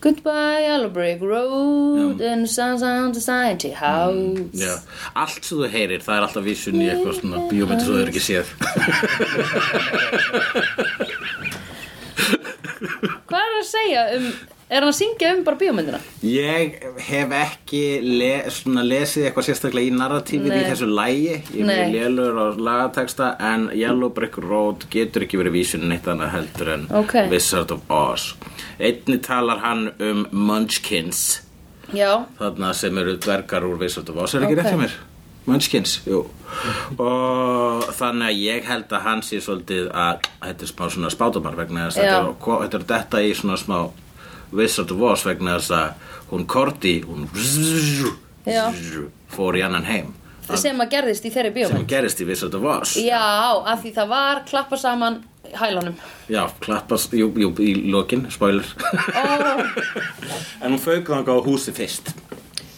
Speaker 2: Goodbye Yellow Brick Road and the sun's on the society house.
Speaker 1: Mm, Já, allt sem þú heyrir, það er alltaf vísun í eitthvað svona bíómynd sem þú er ekki séð.
Speaker 2: Hvað er það að segja um, er hann að syngja um bara bíómyndina?
Speaker 1: Ég hef ekki le, svona lesið eitthvað sérstaklega í narratífið í þessu lægi. Ég er mjög
Speaker 2: Nei.
Speaker 1: lélur á lagateksta en Yellow Brick Road getur ekki verið vísun neitt annað heldur en
Speaker 2: Ókei.
Speaker 1: Wizard of Oz. Einni talar hann um Munchkins,
Speaker 2: Já,
Speaker 1: þarna sem eru dvergar úr Wizard of Oz. Er ekki rétt hjá mér? Munchkins, jú. Og þannig að ég held að hann sé svolítið að þetta er smá svona spátumar vegna þess að
Speaker 2: Já.
Speaker 1: þetta er að ko- þetta er að detta í svona smá Wizard of Oz vegna þess að hún Korti, hún
Speaker 2: Já.
Speaker 1: fór í annan heim
Speaker 2: sem að gerðist í þeirri
Speaker 1: Ah. sem
Speaker 2: bíómynd.
Speaker 1: gerist í Wizard of Oz
Speaker 2: Já, af því það var klappa saman hælunum.
Speaker 1: Já, klappast, jú, jú, í lokin, spoiler
Speaker 2: Ó,
Speaker 1: (laughs) En hún fauk þangað á húsi fyrst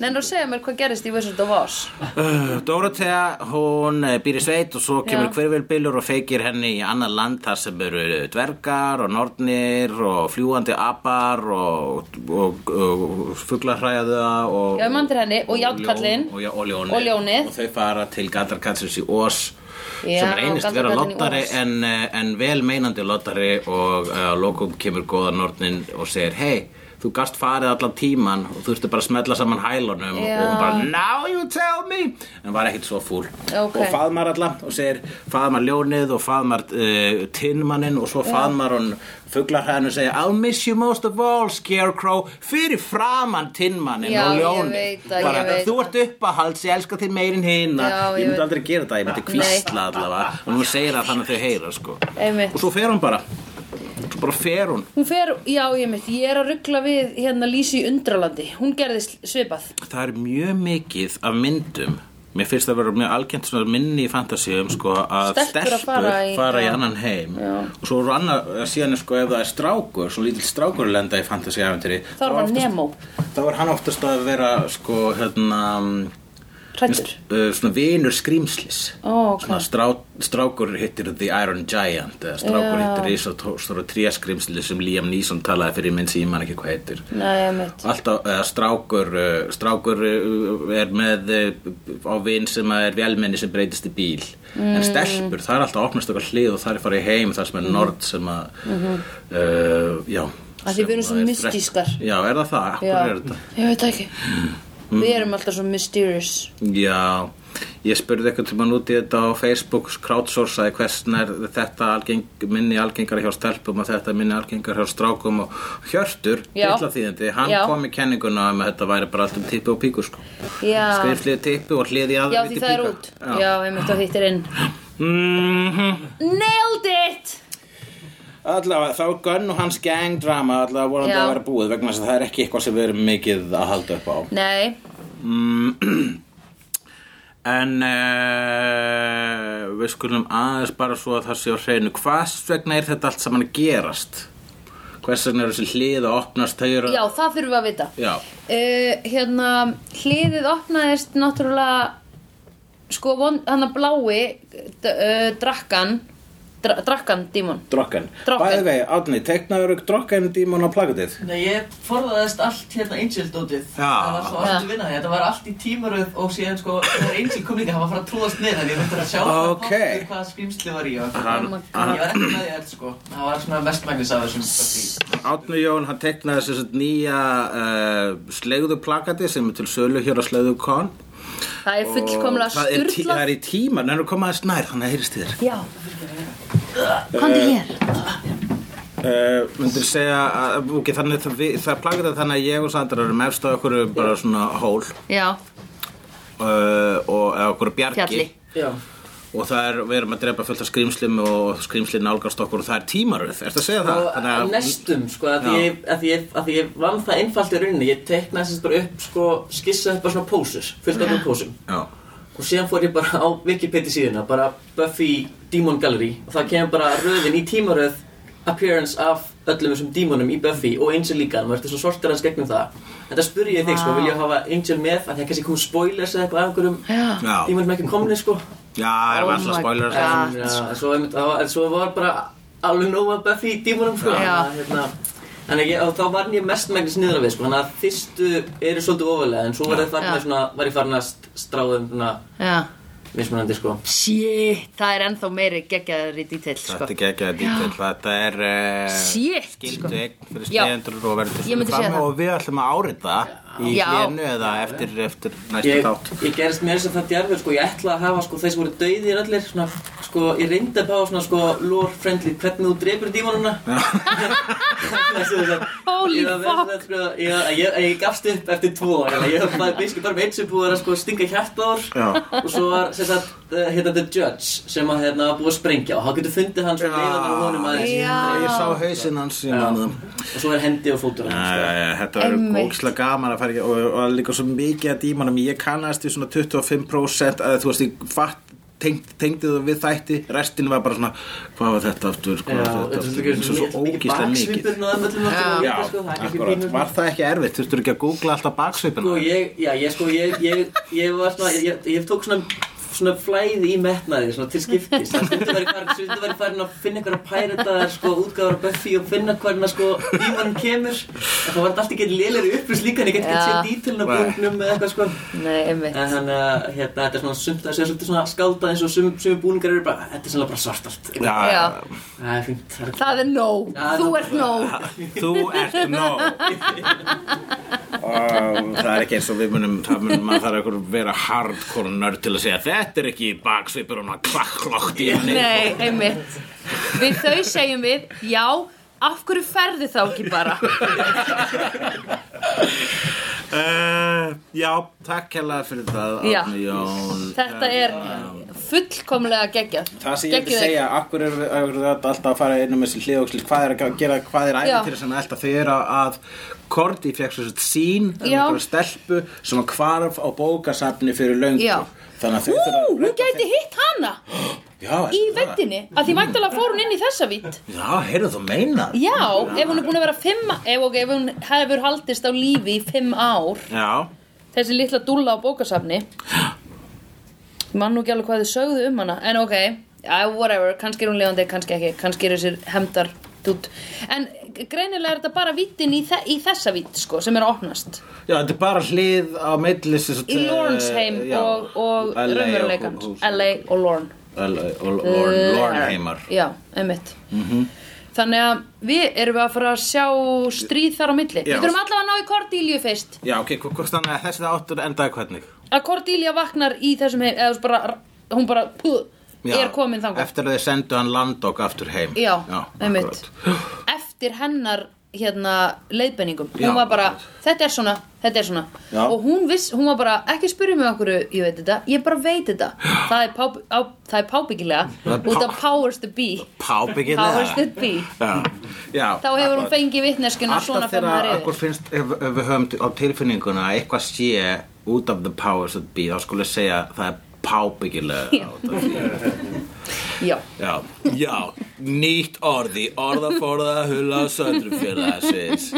Speaker 2: nennir að segja mér hvað gerðist í Wizard of Oz.
Speaker 1: Uh, Dorothea, hún eh, býr í sveit og svo kemur
Speaker 2: Já.
Speaker 1: hverfélbillur og feikir henni í annað land þar sem eru eh, dvergar og nornir og fljúandi apar og, og, og, og fuglarhræða og,
Speaker 2: Já, ég man til henni, og játkallinn.
Speaker 1: og, ljón- og, já, og,
Speaker 2: Og ljónið.
Speaker 1: og þau fara til Galdarkatsins í Ós
Speaker 2: Já,
Speaker 1: sem reynist vera
Speaker 2: Galdrakarlinn í
Speaker 1: lottari
Speaker 2: Oz.
Speaker 1: en, eh, en vel meinandi lottari og eh, að lokum kemur góða nornin og segir hei þú gast farið allan tíman og þú ertu bara að smella saman hælunum og hún bara now you tell me en var ekkit svo fúl
Speaker 2: Ok.
Speaker 1: og faðmar alla og segir faðmar ljónið og faðmar uh, tinnmannin og svo faðmar hún fuglarhæðinu og segir I'll miss you most of all scarecrow fyrir framan tinnmannin
Speaker 2: Já,
Speaker 1: og
Speaker 2: ég
Speaker 1: ljónið
Speaker 2: veit það,
Speaker 1: bara
Speaker 2: ég veit
Speaker 1: þú ert uppahalds, ég elska þig meirin hinna
Speaker 2: Já,
Speaker 1: ég
Speaker 2: ég
Speaker 1: myndi
Speaker 2: veit.
Speaker 1: aldrei gera þetta, ég myndi kvísla allavega og hún segir það þannig að þau heyra sko.
Speaker 2: Einmitt.
Speaker 1: og svo fer hún bara svo bara fer hún
Speaker 2: Hún fer, já, ég mitt, ég er að ruggla við hérna Lísi í Undralandi. Hún gerðist svipað.
Speaker 1: það er mjög mikið af myndum mér finnst það að vera mjög algjönt svona minni í fantasíum sko, að
Speaker 2: Stelpur að
Speaker 1: stelpur fara
Speaker 2: fara
Speaker 1: í,
Speaker 2: í- já.
Speaker 1: annan heim já. og svo eru annað, síðan er sko ef það er strákur, svona lítill strákur að lenda í fantasíu
Speaker 2: Þá er hann Nemo,
Speaker 1: þá er hann oftast að vera sko hérna
Speaker 2: hrættur.
Speaker 1: uh, svona vinur skrýmslis
Speaker 2: Ó, ok.
Speaker 1: svona strá, strákur hittir The Iron Giant eða strákur hittir risastóra tríaskrimsli sem Liam Neeson talaði fyrir minn sem ég man ekki hvað heitir
Speaker 2: Nei, ég mitt.
Speaker 1: Alltaf, eða strákur, uh, strákur uh, er með uh, á vin sem að er velmenni sem breytist í bíl
Speaker 2: Mm.
Speaker 1: en stelpur, það er alltaf að opnast okkar hlið og það er farið heim þar
Speaker 2: Mhm.
Speaker 1: sem er nord sem að, uh, já
Speaker 2: Af því við
Speaker 1: sem
Speaker 2: erum svo
Speaker 1: að er
Speaker 2: mystískar.
Speaker 1: þrett- Já, er það það? Akkur
Speaker 2: Já.
Speaker 1: er þetta? Mm.
Speaker 2: Ég veit það ekki. Við erum alltaf svo mysterious.
Speaker 1: Já, Ég spurði eitthvað tímann út í þetta á Facebook crowdsourcaði hversnar þetta algeng, minni algengara hjá stelpum og þetta minni algengara hjá strákum og Hjörtur,
Speaker 2: Já.
Speaker 1: byrlaþýðandi, hann
Speaker 2: Já.
Speaker 1: kom í kenninguna um að þetta væri bara allt um tippu og píku sko.
Speaker 2: Já.
Speaker 1: Skriflið tippu og hliði aðra
Speaker 2: Já, því það er út. Já, einmitt og hittir inn.
Speaker 1: Mhm.
Speaker 2: Nailed it!
Speaker 1: Allavega, þá Gunn og hans gang drama allavega voru
Speaker 2: Já.
Speaker 1: að vera búið vegna þess að það er ekki eitthvað sem við erum mikið að halda upp á. Mm.
Speaker 2: Nei,
Speaker 1: (clears throat) En uh, við skulum aðeins bara svo að það sé á hreinu Hvers vegna er þetta allt saman að gerast? Hvers vegna eru þessi hlið að opnast þau eru
Speaker 2: já, það þurfum við að vita.
Speaker 1: Já.
Speaker 2: Uh, hérna, hliðið opnaðist náttúrulega, sko, von, hann að blái, d- uh, drakkan, dra, drakkan, dímon.
Speaker 1: Drokkan
Speaker 2: Drokkan.
Speaker 1: Bæði vegi, Átni, teknaður drokkan dímon á plakatið
Speaker 5: Nei, ég forðaðist allt hérna Angel-dótið. Það var svo allt vinnaði. Þetta var allt í tímaröð og síðan sko, þegar Angel kom líka, hann var að fara að trúast niður en ég veit að sjá
Speaker 1: Ok.
Speaker 5: hvað, hvað skrimsli var í og
Speaker 1: Hann-
Speaker 5: ég var ekki með því að sko. Það var svona mestmægnis af þessum sko,
Speaker 1: Átni Jón, hann teknaði þessi nýja uh, slegðu plakatið sem er til sölu hér á slegðu kon
Speaker 2: Það er fullkomlega
Speaker 1: Það er, tí, það
Speaker 2: sturglað.
Speaker 1: er í tíma, en hann er komaðist nær, þannig að heyrist þér
Speaker 2: Já,
Speaker 1: Eh.
Speaker 2: komdu hér.
Speaker 1: Uh, myndir segja að, ok, þannig það, við, það plakar það þannig að ég og Sandra erum efst á okkur bara svona hól
Speaker 2: Já,
Speaker 1: uh, og eða okkur bjargi
Speaker 2: Fjalli.
Speaker 5: því. Já.
Speaker 1: og það er, við erum að drepa fullt af skrýmslim og skrýmslin nálgast okkur og það er tímaröð ertu að segja það?
Speaker 5: Þannig að næstum, sko, að
Speaker 1: Já.
Speaker 5: ég, að ég, að ég vann það einfalt í rauninni, ég teknaði þess bara upp, sko, skissaði bara svona pósur, fullt af pósum.
Speaker 1: Já,
Speaker 5: og síðan fór ég bara á Wikipedia síðuna bara Buffy Demon Gallery og það kemur bara röðin í tímaröð appearance af öllum þessum dímonum í Buffy og Angel líka, maður ertu svo sortir hans gegnum það en það spurði ég þig sko, vil ég hafa Angel með að það kannski kom spoilers eða eitthvað af einhverjum
Speaker 1: Já.
Speaker 5: dímonum sem ekki komni sko
Speaker 1: já, erum
Speaker 2: Oh
Speaker 1: oh alltaf
Speaker 2: my
Speaker 1: spoiler
Speaker 2: God.
Speaker 1: yeah.
Speaker 5: Já, en svo, einmitt, það var- en svo var bara alveg nóg að Buffy í dímunum sko.
Speaker 2: Já.
Speaker 5: Þannig að, hérna, Þannig að ég, og þá var ég mest megnis niður að við sko. Þannig að fyrstu eru svolítið ofalega En svo var ég farin
Speaker 2: Já.
Speaker 5: að, svona, var ég farin að st- stráðum svona,
Speaker 2: já.
Speaker 5: mismunandi sko.
Speaker 2: Shit, það er ennþá meiri geggjaður í dítill, sko.
Speaker 1: Þetta er geggjaða dítill, þetta er uh,
Speaker 2: Shit, sko.
Speaker 1: skildu eign fyrir
Speaker 2: Já.
Speaker 1: stegendur og verður
Speaker 2: Ég myndi
Speaker 1: fram
Speaker 2: segja það.
Speaker 1: og við ætlum að árita í
Speaker 2: Já.
Speaker 1: hlénu eða eftir, eftir næstu
Speaker 5: ég,
Speaker 1: þátt
Speaker 5: ég gerist mér sem það djarfur sko, ég ætla að hafa sko, þeir sem voru dauðir allir svona, sko, ég reyndi að hafa svona sko, lore friendly, hvernig þú drepur dímonuna (laughs)
Speaker 2: Holy
Speaker 5: Holy
Speaker 2: fuck.
Speaker 5: sko, ég, ég, ég gafst upp eftir tvo ég, ég var basically bara með einn sem búið að sko, stinga hjarta á
Speaker 1: Já.
Speaker 5: þér og svo var sem sagt eh, hérna The Judge sem að hérna búið að sprengja og hann getur fundið hann svo leiðan á honum aðeins
Speaker 1: Ég sá hausinn hans í mannum
Speaker 5: og svo er hendi og fótur hann
Speaker 1: Já, já, já, þetta verður
Speaker 2: Einmitt.
Speaker 1: gókslega gaman að fara ekki og, og líka svo mikið að dímanum ég kannast við svona 25% að þú veist ég fatt tengdi, tengdi það við þætti restin var bara svona hvað var þetta aftur hvað
Speaker 5: Já,
Speaker 1: var þetta
Speaker 5: þetta er
Speaker 1: aftur svo, svo ógíslega mikið
Speaker 5: baksvipurinn á þeim öllum náttúrulega
Speaker 1: Já,
Speaker 5: líka, sko, það er ekki
Speaker 1: akkurat,
Speaker 5: pínu-
Speaker 1: var það ekki erfitt þurftur ekki að googla alltaf
Speaker 5: Sko,
Speaker 1: baksvipina
Speaker 5: ég, já, ég sko, ég, ég, ég var svona, ég, ég, ég tók svona, svona flæði í metnaði, svona til skiptis. Það stundu verið farin, stundu verið farin að finna einhverja pæritaðar, sko, útgáður af Buffy og finna hvernig, sko, dímanum kemur. En það var þetta allt ekki lélir upplýst líka, en ég get ekki
Speaker 2: Já.
Speaker 5: séð dítilin af
Speaker 1: Nei.
Speaker 5: búningnum eða eitthvað, sko.
Speaker 2: Nei, einmitt.
Speaker 5: En þannig að, hérna, þetta er svona sumt, það sé svolítið svona skáldað eins og sum, sumi búningar eru bara, þetta er svolítið bara svart allt.
Speaker 1: Já,
Speaker 2: Já.
Speaker 5: Það er fínt, það er
Speaker 2: Það er nóg.
Speaker 5: Já,
Speaker 2: Þú
Speaker 5: það-
Speaker 2: ert nóg.
Speaker 1: þú ert nóg og það er ekki eins og við munum það munum að það er eitthvað vera hardcore nörd til að segja þetta er ekki baksvipur og klakklokk í henni
Speaker 2: Nei, einmitt Við þau segjum við, já Af hverju ferði þá ekki bara
Speaker 1: Uh, já, takk hérlega fyrir það
Speaker 2: Já.
Speaker 1: Árni Jón
Speaker 2: Þetta er fullkomlega geggjað
Speaker 1: Það sem ég vil
Speaker 2: Geggjuð.
Speaker 1: segja, akkur er, er þetta alltaf að fara inn um þessi hliðókslis hvað er að gera, hvað er
Speaker 2: Já.
Speaker 1: æfintýri sem er alltaf þau eru að Korti fekk svo sett sín um
Speaker 2: Já.
Speaker 1: einhverja stelpu sem að hvarf á bókasafni fyrir löngu
Speaker 2: Já.
Speaker 1: þannig að þau
Speaker 2: Ú,
Speaker 1: þurfa að
Speaker 2: hún
Speaker 1: redda
Speaker 2: gæti hitt hana
Speaker 1: þeim- Já,
Speaker 2: Í
Speaker 1: ertu það?
Speaker 2: veddinni, af því væntalega fór hún inn í þessa vitt
Speaker 1: Já, heyrðu þú meina
Speaker 2: Já, ef hún er búin að vera fimm ef, ok, ef hún hefur haldist á lífi í fimm ár
Speaker 1: Já,
Speaker 2: Þessi litla dúlla á bókasafni Ég Man nú ekki alveg hvað þið sögðu um hana En ok, I, whatever, kannski er hún lifandi, kannski ekki Kannski er þessir hemdar dút En greinilega er þetta bara vittin í, þe í þessa vitt sko, sem er að opnast
Speaker 1: Já, þetta er bara hlið á millis
Speaker 2: Í Lornsheim og, og raunveruleikan LA og Lorne
Speaker 1: Lornheimar Mhm.
Speaker 2: Já, einmitt Þannig að við erum við að fara að sjá stríð þar á milli.
Speaker 1: Já.
Speaker 2: Við þurfum allavega að ná í Cordelia fyrst.
Speaker 1: Já, ok, hv- hvort þannig að þessi þáttur endaði hvernig?
Speaker 2: Að Cordelia vaknar í þessum heim, eða þú veist bara, hún bara, puh,
Speaker 1: Já,
Speaker 2: er komin þangað.
Speaker 1: Eftir að þið sendu hann landokk aftur heim
Speaker 2: Já, einmitt.
Speaker 1: akkurat.
Speaker 2: Eftir hennar hérna leiðbenningum.
Speaker 1: Já,
Speaker 2: Hún var bara,
Speaker 1: akkurat.
Speaker 2: þetta er svona, þetta er svona.
Speaker 1: Já.
Speaker 2: Og hún viss, hún var bara, ekki spyrja mig okkur, ég veit þetta, ég bara veit þetta. Það er, pá, á, það er
Speaker 1: Það
Speaker 2: pábyggilega
Speaker 1: er pá-
Speaker 2: út af powers to be.
Speaker 1: Pábyggilega
Speaker 2: Powers to be.
Speaker 1: Já, já
Speaker 2: Þá hefur hún
Speaker 1: akkurat.
Speaker 2: fengið vitneskuna svona
Speaker 1: Alltaf
Speaker 2: fyrir
Speaker 1: þegar
Speaker 2: maður
Speaker 1: okkur
Speaker 2: yfir.
Speaker 1: finnst ef, ef við höfum á tilfinninguna að eitthvað sé út af the powers that be þá skulle ég segja að það er pábyggilega út af því.
Speaker 2: Já,
Speaker 1: Já, já, nýtt orði orðaforða hula söndrufélagsins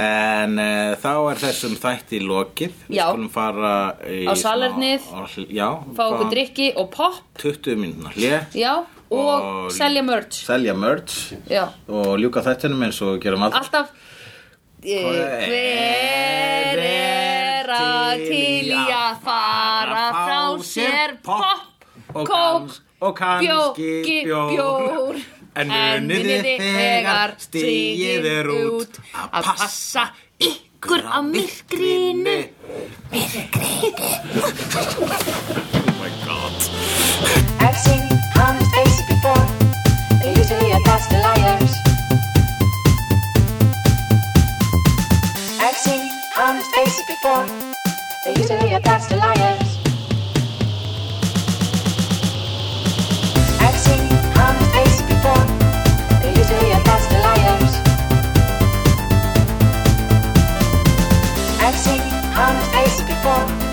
Speaker 1: En uh, þá er þessum þætti lokið Við
Speaker 2: Já.
Speaker 1: skulum fara í
Speaker 2: Á
Speaker 1: smá-
Speaker 2: salernið.
Speaker 1: á hl- Já
Speaker 2: fá
Speaker 1: fá-
Speaker 2: okkur drikki og pop.
Speaker 1: 20 mínúna hlje
Speaker 2: Já, og,
Speaker 1: Og-
Speaker 2: selja merch
Speaker 1: selja merch
Speaker 2: Já.
Speaker 1: og ljúka þættinum eins og við gerum alltaf
Speaker 2: Alltaf eh, Hver er að til í að fara frá sér popp
Speaker 1: og,
Speaker 2: kók,
Speaker 1: kans, og kannski
Speaker 2: bjóki,
Speaker 1: bjór,
Speaker 2: bjór
Speaker 1: en munið þið þegar stigið er út að passa ykkur á myrkrinu
Speaker 6: I've seen honest faces before. They're usually a pass to liars. I've seen honest faces before. They're usually a pass to liars. I've seen honest faces before. They're usually a pass to liars. I've seen honest faces before.